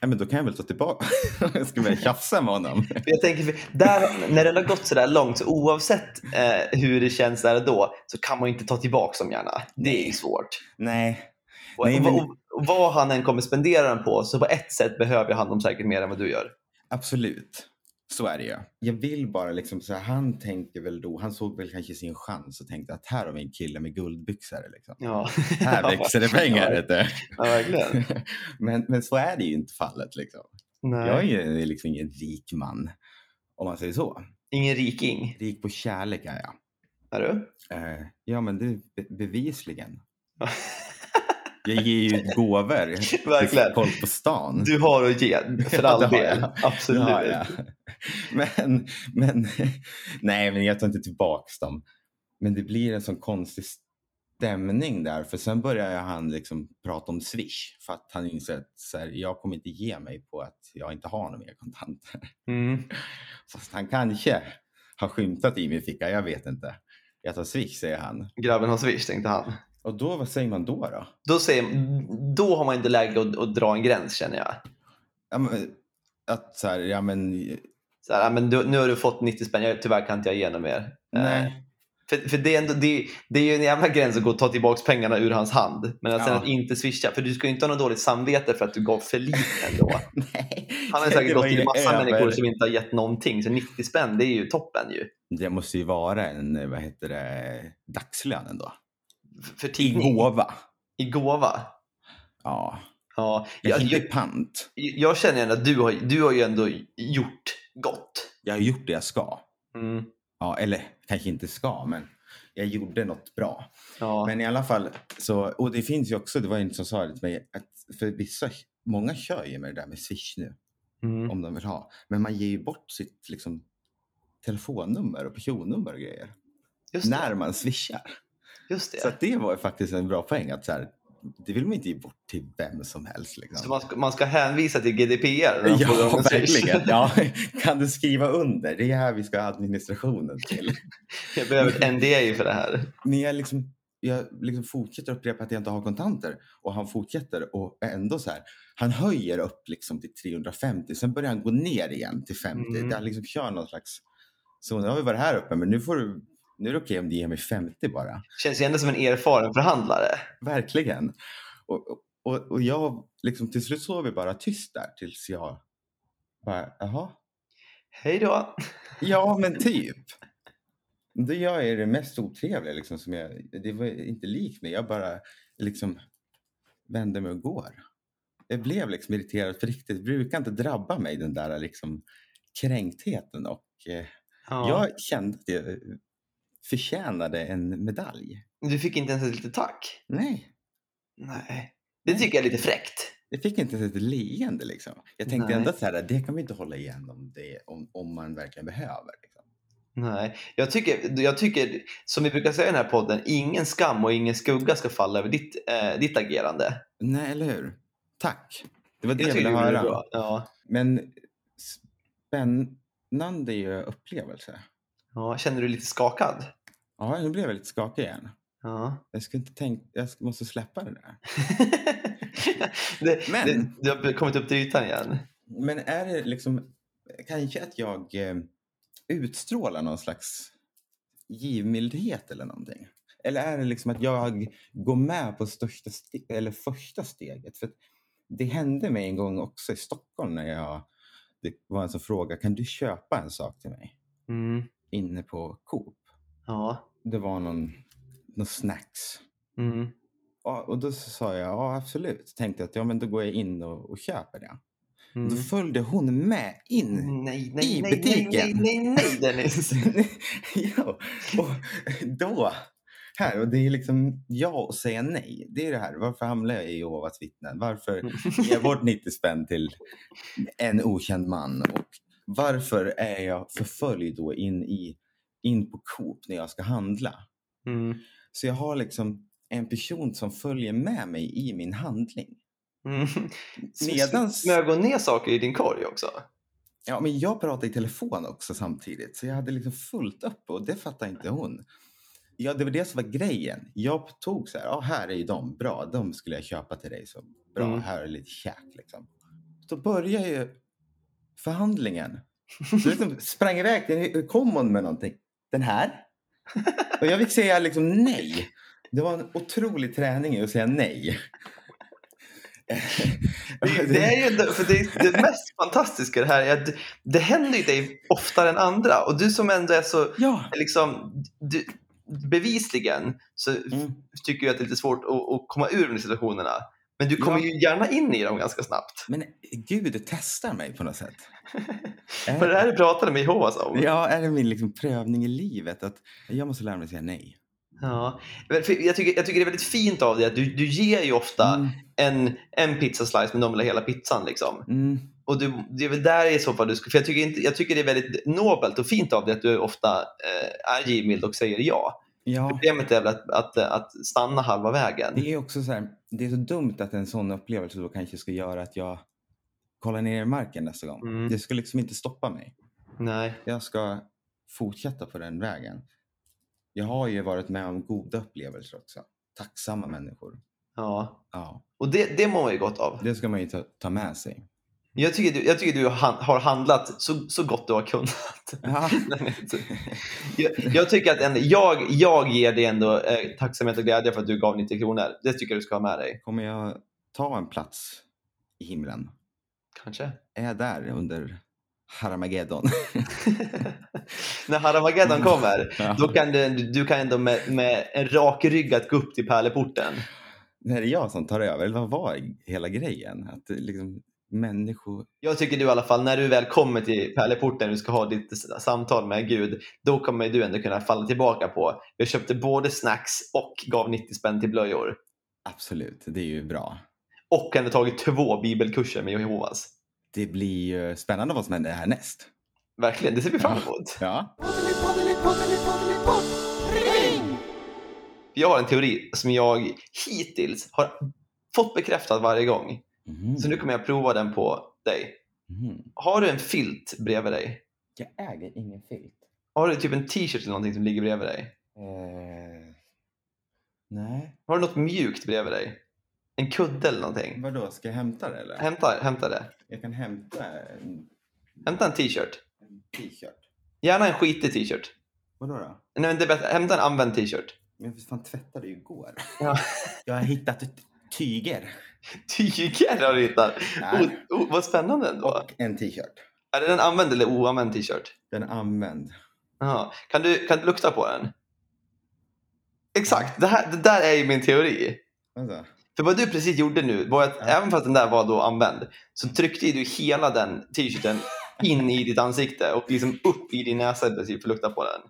S2: men då kan jag väl ta tillbaka. jag ska börja tjafsa med honom.
S1: För Jag tänker, för där, när den har gått så där långt, så oavsett eh, hur det känns där och då, så kan man ju inte ta tillbaka dem gärna. Det är ju svårt.
S2: nej.
S1: Och,
S2: Nej, men-
S1: och, och vad han än kommer spendera den på, så på ett sätt behöver han dem säkert mer än vad du gör.
S2: Absolut. Så är det ju. Jag vill bara liksom så här, han tänker väl då, han såg väl kanske sin chans och tänkte att här har vi en kille med guldbyxor liksom.
S1: Ja,
S2: Här växer det pengar
S1: Ja.
S2: vet du.
S1: ja verkligen.
S2: men, men så är det ju inte fallet liksom.
S1: Nej.
S2: Jag är ju liksom ingen rik man. Om man säger så.
S1: Ingen riking,
S2: Rik på kärlek är jag.
S1: är du?
S2: Eh, ja, men det be- bevisligen. Jag ger ju ut gåvor
S1: Verkligen.
S2: till folk på stan.
S1: Du har att ge, för
S2: Ja,
S1: all
S2: det har
S1: del.
S2: jag. Det
S1: Absolut.
S2: har jag. Men, men nej, men jag tar inte tillbaks dem. Men det blir en sån konstig stämning där. För sen börjar han liksom prata om Swish. För att han inser att så här, jag kommer inte ge mig på att jag inte har några mer kontanter.
S1: Mm.
S2: Fast han kanske har skymtat i min ficka, jag vet inte. Jag tar Swish, säger han.
S1: Grabben har swish, tänkte han.
S2: Och då, vad säger man då? Då,
S1: Då, säger, då har man inte läge att, att dra en gräns, känner jag.
S2: ja, men, att så här, ja men...
S1: Så här, "Ah, men du, nu har du fått 90 spänn, jag, tyvärr kan inte jag ge något mer. Eh,
S2: Nej.
S1: För, för det, är ändå, det, det är ju en jävla gräns att gå och ta tillbaka pengarna ur hans hand. Men att sen
S2: Ja.
S1: att inte swisha. För du ska ju inte ha något dåligt samvete för att du gav för lite ändå.
S2: nej.
S1: Han har ju
S2: Det
S1: säkert
S2: var
S1: gått
S2: ju
S1: till massa
S2: över.
S1: människor som inte har gett någonting. Så 90 spänn, det är ju toppen ju.
S2: Det måste ju vara en, eh, vad heter det, dagslön ändå.
S1: F- För
S2: I
S1: tidning.
S2: gåva.
S1: I gåva.
S2: Ja.
S1: Ja.
S2: Jag,
S1: Jag, jag,
S2: inte pant.
S1: jag känner ändå att du har, du har ju ändå gjort gott.
S2: Jag har gjort det jag ska.
S1: Mm.
S2: Ja, eller kanske inte ska, men jag gjorde något bra.
S1: Ja.
S2: Men i alla fall, så, och det finns ju också, det var ju inte som sa det till mig, att för vissa, många kör ju med det där med Swish nu,
S1: mm.
S2: om de vill ha. Men man ger ju bort sitt liksom, telefonnummer och personnummer och grejer
S1: Just det.
S2: när man swishar.
S1: Just det.
S2: Så
S1: Så,
S2: att det var ju faktiskt en bra poäng, att så här, det vill man inte ge bort till vem som helst. Liksom.
S1: man, ska, man ska hänvisa till GDPR? när man får
S2: Ja,
S1: en swish.
S2: verkligen. Ja. Kan du skriva under? Det är här vi ska ha administrationen till.
S1: Jag behöver ett NDA för det här.
S2: Men jag liksom, jag liksom fortsätter upprepa att jag inte har kontanter och han fortsätter och är ändå så här. Han höjer upp liksom till 350, sen börjar han gå ner igen till 50.
S4: Mm.
S2: Mm. Han liksom kör någon slags, så nu har vi varit här uppe men nu får du, nu är det okej om du ger mig 50 bara.
S1: Känns ju ändå som en erfaren förhandlare.
S2: Verkligen. Och, och, och jag, liksom, till slut sov vi bara tyst där tills jag bara, jaha,
S1: Hej då!
S2: ja men typ. Då gör jag det mest otrevliga liksom, som jag, det var inte likt mig, jag bara liksom vänder mig och går. Jag blev liksom irriterad på riktigt, det brukar inte drabba mig den där liksom kränktheten och eh, jag kände att jag eh, förtjänade en medalj.
S1: Du fick inte ens ett litet tack?
S2: Nej.
S1: Nej. Det tycker jag är lite fräckt.
S2: Jag fick inte ens ett leende liksom. Jag tänkte
S1: Nej.
S2: ändå så här, det kan vi inte hålla igen om, det, om, om man verkligen behöver. Liksom.
S1: Nej, jag tycker, jag tycker, som vi brukar säga i den här podden, ingen skam och ingen skugga ska falla över ditt, eh, ditt agerande.
S2: Nej, eller hur? Tack. Det var det jag,
S1: tycker
S2: ville
S1: du gjorde
S2: höra.
S1: bra. Ja.
S2: Men spännande ju upplevelse.
S1: Ja, känner du dig lite skakad?
S2: Ja, nu blev jag lite skakig igen.
S1: Ja.
S2: Jag, ska inte tänka, jag ska- måste släppa det där.
S1: det,
S2: Men-
S1: det, du har kommit upp till ytan igen.
S2: Men är det liksom kanske att jag eh, utstrålar någon slags givmildhet eller någonting? Eller är det liksom att jag går med på största ste- eller första steget? För att det hände mig en gång också i Stockholm när jag, det var en som frågade, kan du köpa en sak till mig?
S1: Mm.
S2: Inne på Coop.
S1: Ja.
S2: Det var någon, någon snacks.
S1: Mm.
S2: Ja, Och då sa jag, ja absolut. Tänkte att ja, men då går jag in och, och köper det.
S1: Mm.
S2: Då följde hon med in
S1: Nej, nej, nej,
S2: i
S1: nej, nej,
S2: butiken.
S1: nej, nej, Dennis.
S2: ja, och då, här, och det är liksom ja och säga nej. Det är det här, varför hamnar jag i Jehovas vittnen? Varför ger jag bort 90 spänn till en okänd man? Och varför är jag förföljd då in, i, in på Coop när jag ska handla?
S1: Mm.
S2: Så jag har liksom en person som följer med mig i min handling.
S1: Mm.
S2: Medans-
S1: Smög hon ner saker i din korg också?
S2: Ja, men jag pratade i telefon också samtidigt, så jag hade liksom fullt upp och det fattade inte hon. Ja, det var det som var grejen. Jag tog så här, ja, här är ju de, bra, de skulle jag köpa till dig, så bra,
S1: Mm.
S2: här är lite käk liksom. Då börjar ju förhandlingen. Så liksom sprang iväg, den- kom hon med någonting? Den här? Och jag fick säga liksom nej. Det var en otrolig träning i att säga nej.
S1: Det, det är ju inte, för det, det mest fantastiska i det här är att det, det händer ju dig oftare än andra. Och du som ändå är så,
S2: Ja.
S1: liksom, du, bevisligen så
S2: Mm.
S1: tycker jag att det är lite svårt att, att komma ur de situationerna. Men du kommer
S2: Ja.
S1: ju gärna in i dem ganska snabbt.
S2: Men eh, Gud testar mig på något sätt.
S1: För det här du pratade med Jehovas om.
S2: Ja, är det min liksom prövning i livet att jag måste lära mig säga nej.
S1: Ja. Men för Jag, tycker, jag tycker det är väldigt fint av dig att du, du ger ju ofta
S2: Mm,
S1: en, en pizzaslice men de vill ha hela pizzan. Liksom.
S2: mm,
S1: Och du, det är väl där i så fall du ska... För jag tycker, inte, jag tycker det är väldigt nobelt och fint av dig att du ofta eh, är givmild och säger ja.
S2: ja,
S1: Problemet är väl att, att, att stanna halva vägen.
S2: det är också så här. Det är så dumt att en sån upplevelse då kanske ska göra att jag kollar ner i marken nästa gång.
S1: Mm.
S2: Det ska liksom inte stoppa mig.
S1: Nej.
S2: Jag ska fortsätta på den vägen. Jag har ju varit med om goda upplevelser också. Tacksamma människor.
S1: Ja.
S2: Ja,
S1: Och det, det mår man ju gott av.
S2: det ska man ju ta, ta med sig.
S1: Jag tycker du, jag tycker du han- har handlat så, så gott du har kunnat.
S2: Ja.
S1: Nej, men- jag, jag tycker att en, jag, jag ger dig ändå eh, tacksamhet och glädje för att du gav 90 kronor. Det tycker jag du ska ha med dig.
S2: Kommer jag ta en plats i himlen?
S1: Kanske.
S2: Är jag där under Haramageddon?
S1: När Haramageddon kommer,
S2: Ja.
S1: då kan du, du kan ändå med, med en rak rygg att gå upp till pärleporten.
S2: Det här är jag som tar över. Eller vad var hela grejen? Att det liksom, människor...
S1: Jag tycker du i alla fall, när du väl kommer till pärleporten och du ska ha ditt s- samtal med Gud, då kommer du ändå kunna falla tillbaka på, jag köpte både snacks och gav 90 spänn till blöjor.
S2: Absolut, det är ju bra.
S1: och han har tagit två bibelkurser med Jehovas.
S2: Det blir ju spännande vad som händer härnäst.
S1: Verkligen, det ser vi fram emot.
S2: Ja.
S1: Jag har en teori som jag hittills har fått bekräftad varje gång.
S2: Mhm.
S1: Så nu kommer jag prova den på dig.
S2: Mhm.
S1: Har du en filt bredvid dig?
S2: Jag äger ingen filt.
S1: Har du typ en t-shirt eller någonting som ligger bredvid dig?
S2: Eh, Nej.
S1: Har du något mjukt bredvid dig? En kudde eller någonting?
S2: Vadå, ska jag hämta det eller?
S1: Hämta, hämta det.
S2: Jag kan hämta en,
S1: Hämta en t-shirt.
S2: en t-shirt.
S1: Gärna en skitig t-shirt.
S2: Vadå då?
S1: Nej, men det är bättre. Hämta en använd t-shirt.
S2: Men jag fan tvättade ju igår.
S1: Ja.
S2: Jag har hittat ett tyger.
S1: Tyger har du hittat.
S2: Nej.
S1: O- o- vad spännande ändå.
S2: Och en t-shirt.
S1: Är det en använd eller oanvänd t-shirt?
S2: Den är använd.
S1: Jaha. Kan, du, kan du lukta på den? Exakt, det, här, det där är ju min teori.
S2: Alltså,
S1: För vad du precis gjorde nu var att även fast den där var då använd så tryckte ju du hela den t-shirten in i ditt ansikte och liksom upp i din näsa i princip för att lukta på den.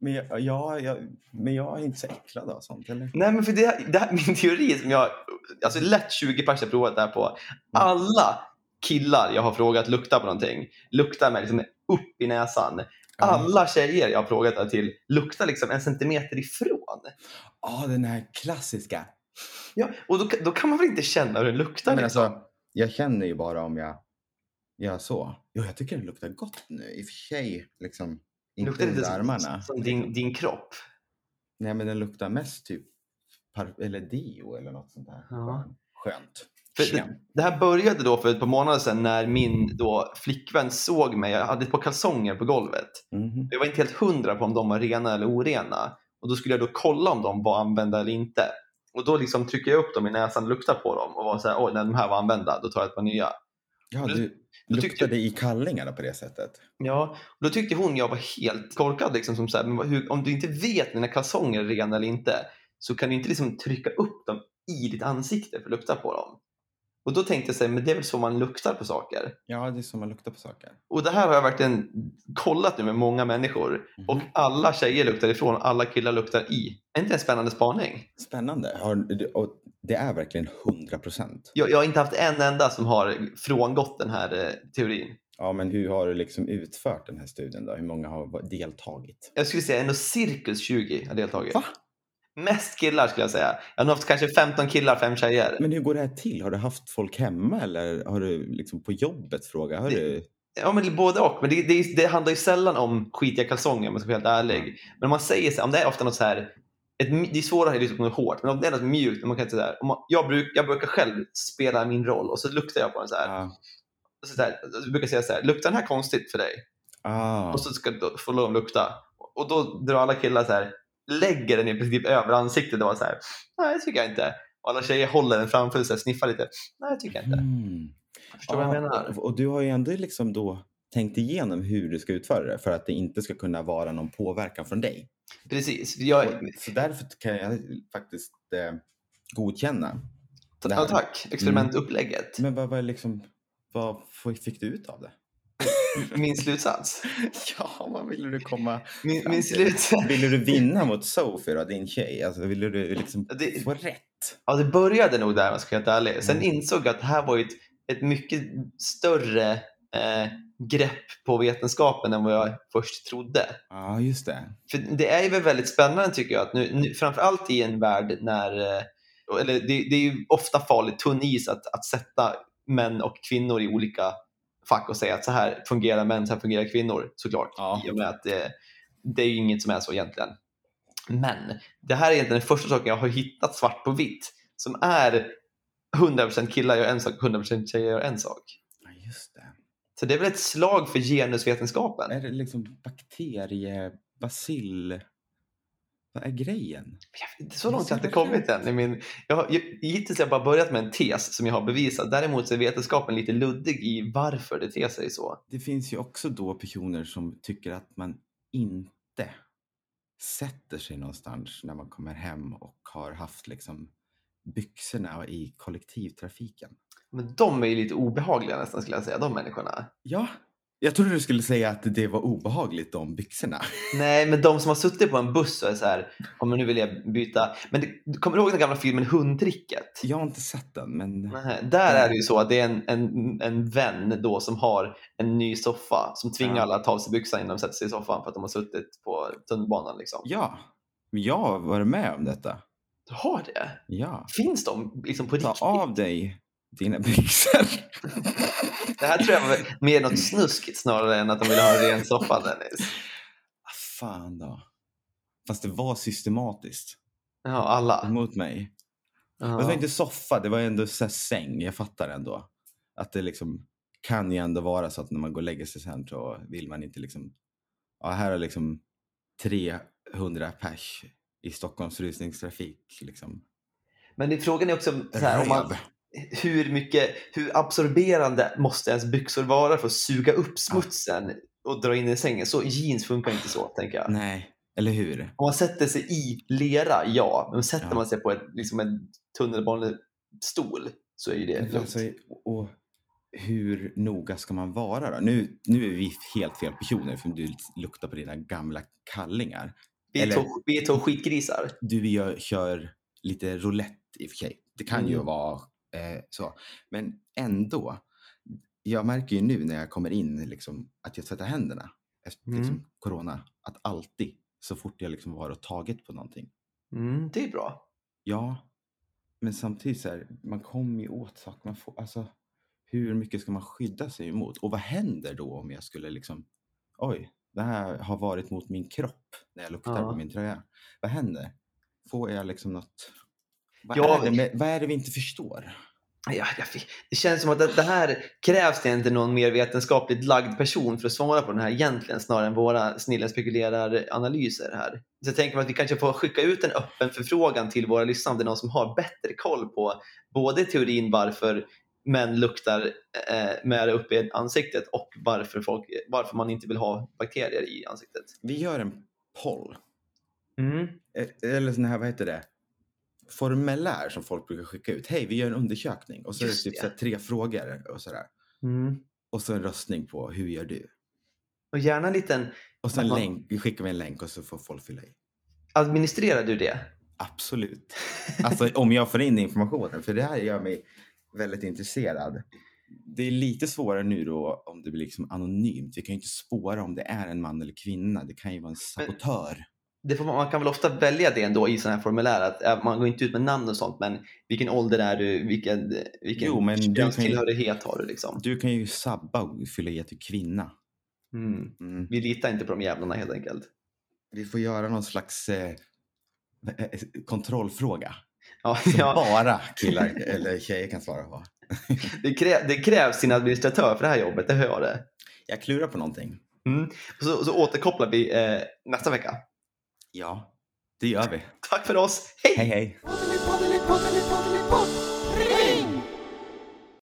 S2: men, jag, ja, jag, men jag är inte så äcklad av sånt eller?
S1: Nej men för det, här- det här, min teori som jag, alltså lätt 20 pers har provat det här
S2: Mm.
S1: på. Alla killar jag har frågat lukta på någonting, luktar med liksom upp i näsan. Alla tjejer jag har frågat det här till luktar liksom en centimeter ifrån.
S2: Ja, den här klassiska.
S1: Ja, och då, då kan man väl inte känna hur den luktar?
S2: Men
S1: liksom.
S2: alltså, jag känner ju bara om jag gör så. Jo, jag tycker den luktar gott nu. I och för sig, liksom, inte
S1: luktar
S2: under
S1: som-
S2: armarna. liksom.
S1: som din, din kropp.
S2: Nej, men den luktar mest typ par- eller dio eller något sånt där.
S1: Ja.
S2: Skönt.
S1: För det,
S2: Skönt.
S1: det här började då för ett par månader sedan när min då flickvän såg mig. Jag hade ett par kalsonger på golvet.
S2: Mhm.
S1: Jag var inte helt hundra på om de var rena eller orena. Och Då skulle jag då kolla om de var använda eller inte. Och Då liksom trycker jag upp dem i näsan och luktar på dem och var så här, oj, nej, de här var använda, då tar jag ett par nya.
S2: Ja,
S1: Du-
S2: du
S1: du tyckte-
S2: luktade i kallingarna på det sättet.
S1: Ja, och då tyckte hon jag var helt korkad. Liksom, som så här, men vad- hur, om du inte vet när dina kalsonger är rena eller inte så kan du inte liksom trycka upp dem i ditt ansikte för att lukta på dem. Och Då tänkte jag så här, men det är väl så man luktar på saker.
S2: Ja, det är som man luktar på saker.
S1: Och det här har jag verkligen kollat nu med många människor.
S2: Mhm.
S1: Och alla tjejer luktar ifrån, alla killar luktar i. Är inte det en spännande spaning?
S2: Spännande. Har, du- och det är verkligen 100 procent.
S1: Jag, jag har inte haft en enda som har frångått den här eh, teorin.
S2: Ja, men hur har du liksom utfört den här studien då? Hur många har va- deltagit?
S1: Jag skulle säga ändå cirkus 20 har deltagit.
S2: Va?
S1: Mest killar skulle jag säga. Jag har nog haft kanske 15 killar, fem tjejer.
S2: Men hur går det här till? Har du haft folk hemma eller har du liksom på jobbet frågat? Hör
S1: Det-
S2: du?
S1: Ja, men både och. Men det, det, är- det handlar ju sällan om skitiga kalsonger om jag ska vara helt
S2: Mm.
S1: ärlig. Men om man säger så här, om det är ofta något så här, ett, mj- det är svårare att liksom något hårt, men om det är något mjukt, om man kan säga så här, om man, jag, bruk, jag brukar själv spela min roll och så luktar jag på den så här.
S2: Ja.
S1: Och så så här jag brukar säga så här, luktar den här konstigt för dig?
S2: Ah.
S1: Och så ska du få lov att lukta. Och då drar alla killar så här, lägger den i princip över ansiktet och bara så här, nej det tycker jag inte. Och alla tjejer håller den framför sig och sniffar lite, nej det tycker jag inte.
S2: Mm.
S1: Förstår du vad jag
S2: Ja,
S1: menar?
S2: Och du har ju ändå liksom då tänkt igenom hur du ska utföra det för att det inte ska kunna vara någon påverkan från dig.
S1: Precis. Jag,
S2: Och, så därför kan jag faktiskt eh, godkänna. det här.
S1: ja, tack, experimentupplägget.
S2: Men vad, vad, är liksom, vad f- fick du ut av det?
S1: Min slutsats.
S2: Ja, vad ville du komma...
S1: Min,
S2: fram
S1: min
S2: till?
S1: slutsats.
S2: Ville du vinna mot Sophie då, din tjej? Alltså, ville du liksom
S1: Det-
S2: få rätt?
S1: Ja, det började nog där om jag ska vara helt ärlig. Sen
S2: Mm.
S1: insåg jag att det här var ju ett, ett mycket större eh, grepp på vetenskapen än vad jag först trodde.
S2: Ja, just det.
S1: För det är ju väl väldigt spännande tycker jag, att nu, nu, framförallt i en värld när, eh, eller det, det är ju ofta farligt tunn is att, att sätta män och kvinnor i olika fack och säga att så här fungerar män, så här fungerar kvinnor såklart.
S2: Ja.
S1: I och med att det, det är ju inget som är så egentligen. Men det här är egentligen den första saken jag har hittat svart på vitt som är 100% killar gör en sak, 100% tjejer gör en sak.
S2: Ja, just det.
S1: Så det är väl ett slag för genusvetenskapen.
S2: Är det liksom bakterie, bacill... Vad är grejen?
S1: Jag vet inte, Så långt har jag inte kommit än. i min- Jag har, jag, hittills har jag bara börjat med en tes som jag har bevisat. Däremot så är vetenskapen lite luddig i varför det ter sig så.
S2: Det finns ju också då personer som tycker att man inte sätter sig någonstans när man kommer hem och har haft liksom byxorna i kollektivtrafiken.
S1: Men de är ju lite obehagliga nästan skulle jag säga, de människorna.
S2: Ja, jag trodde du skulle säga att det var obehagligt de byxorna.
S1: Nej, men de som har suttit på en buss och är så här, ja men nu vill jag byta. Men det, du kommer ihåg den gamla filmen Hundtricket?
S2: Jag har inte sett den, men
S1: Nej, där är det ju så att det är en, en, en vän då som har en ny soffa som tvingar
S2: Ja.
S1: alla att ta av sig byxan innan de sätter sig i soffan för att de har suttit på tunnelbanan. Liksom.
S2: ja, men jag har varit med om detta.
S1: Du har det?
S2: Ja,
S1: Finns de liksom på
S2: ta
S1: riktigt?
S2: av dig dina byxor.
S1: Det här tror jag var mer något snuskigt snarare än att de ville ha en ren soffa Dennis.
S2: Ah, Fan då. Fast det var systematiskt.
S1: Ja, alla.
S2: mot mig. Men det var
S1: Ja.
S2: inte soffa, det var ändå så här säng. Jag fattar ändå. Att det liksom kan ju ändå vara så att när man går och lägger sig sen så vill man inte liksom. Ja, här är liksom 300 pers i Stockholms rusningstrafik. Liksom.
S1: Men det, frågan är också om- så här,
S2: Röv.
S1: om man, hur mycket, hur absorberande måste ens byxor vara för att suga upp smutsen och dra in den i sängen? Så jeans funkar inte så, tänker jag.
S2: Nej, eller hur?
S1: Om man sätter sig i lera, ja. Men sätter
S2: Ja.
S1: man sig på ett, liksom en tunnelbanestol så är ju det
S2: Men
S1: lugnt.
S2: Alltså, och hur noga ska man vara då? Nu, nu är vi helt fel personer för du luktar på dina gamla kallingar.
S1: Vi är
S2: eller-
S1: två- vi är två skitgrisar.
S2: Du gör, kör lite roulette i och för sig. Det kan ju
S1: Mm.
S2: vara eh, så. Men ändå. Jag märker ju nu när jag kommer in liksom, att jag tvättar händerna efter
S1: Mm.
S2: liksom, corona. Att alltid så fort jag liksom har tagit på någonting.
S1: Mm, det är bra.
S2: Ja, men samtidigt så här, man kommer ju åt saker man får. Alltså, hur mycket ska man skydda sig emot? Och vad händer då om jag skulle liksom, oj, det här har varit mot min kropp när jag luktar
S1: Ja.
S2: på min tröja. Vad händer? Får jag liksom något? Vad,
S1: Ja,
S2: är det med, vad är det vi inte förstår?
S1: Ja, jag fick- det känns som att det det här krävs det inte någon mer vetenskapligt lagd person för att svara på den här egentligen snarare än våra snillen spekulerar analyser här. Så jag tänker mig att vi kanske får skicka ut en öppen förfrågan till våra lyssnare om det är någon som har bättre koll på både teorin varför män luktar eh, med det uppe i ansiktet och varför, folk, varför man inte vill ha bakterier i ansiktet.
S2: Vi gör en poll.
S1: Mm.
S2: E- Eller sån här, vad heter det? Formulär som folk brukar skicka ut. Hej, vi gör en undersökning. Och så
S1: Just
S2: är det typ
S1: det.
S2: så här, tre frågor och sådär. Och så en röstning på hur gör du?
S1: Och gärna en liten,
S2: Och sen
S1: Att man-
S2: länk, vi skickar vi en länk och så får folk fylla i.
S1: administrerar du det?
S2: Absolut. Alltså om jag får in informationen, för det här gör mig väldigt intresserad. Det är lite svårare nu då om det blir liksom anonymt. Vi kan ju inte spåra om det är en man eller kvinna. Det kan ju vara en sabotör.
S1: det får man, man kan väl ofta välja det ändå i sådana här formulär. Att eh, man går inte ut med namn och sånt, men vilken ålder är du? Vilken, vilken
S2: Jo, men du kan ju-
S1: könstillhörighet har du? Liksom.
S2: Du kan ju sabba och fylla i att du är kvinna.
S1: Mm.
S2: Mm.
S1: Vi litar inte på de jävlarna helt enkelt.
S2: Vi får göra någon slags eh, eh, kontrollfråga.
S1: Ja,
S2: Som
S1: ja,
S2: bara killar eller tjejer kan svara på.
S1: det, krä, det krävs sin administratör för det här jobbet, det hör jag det.
S2: Jag klurar på någonting.
S1: Och Så, så återkopplar vi eh, nästa vecka.
S2: Ja, det gör vi.
S1: Tack för oss, hej!
S2: Hej hej.
S3: Poddeli, poddeli, poddeli, poddeli, podd. Ring!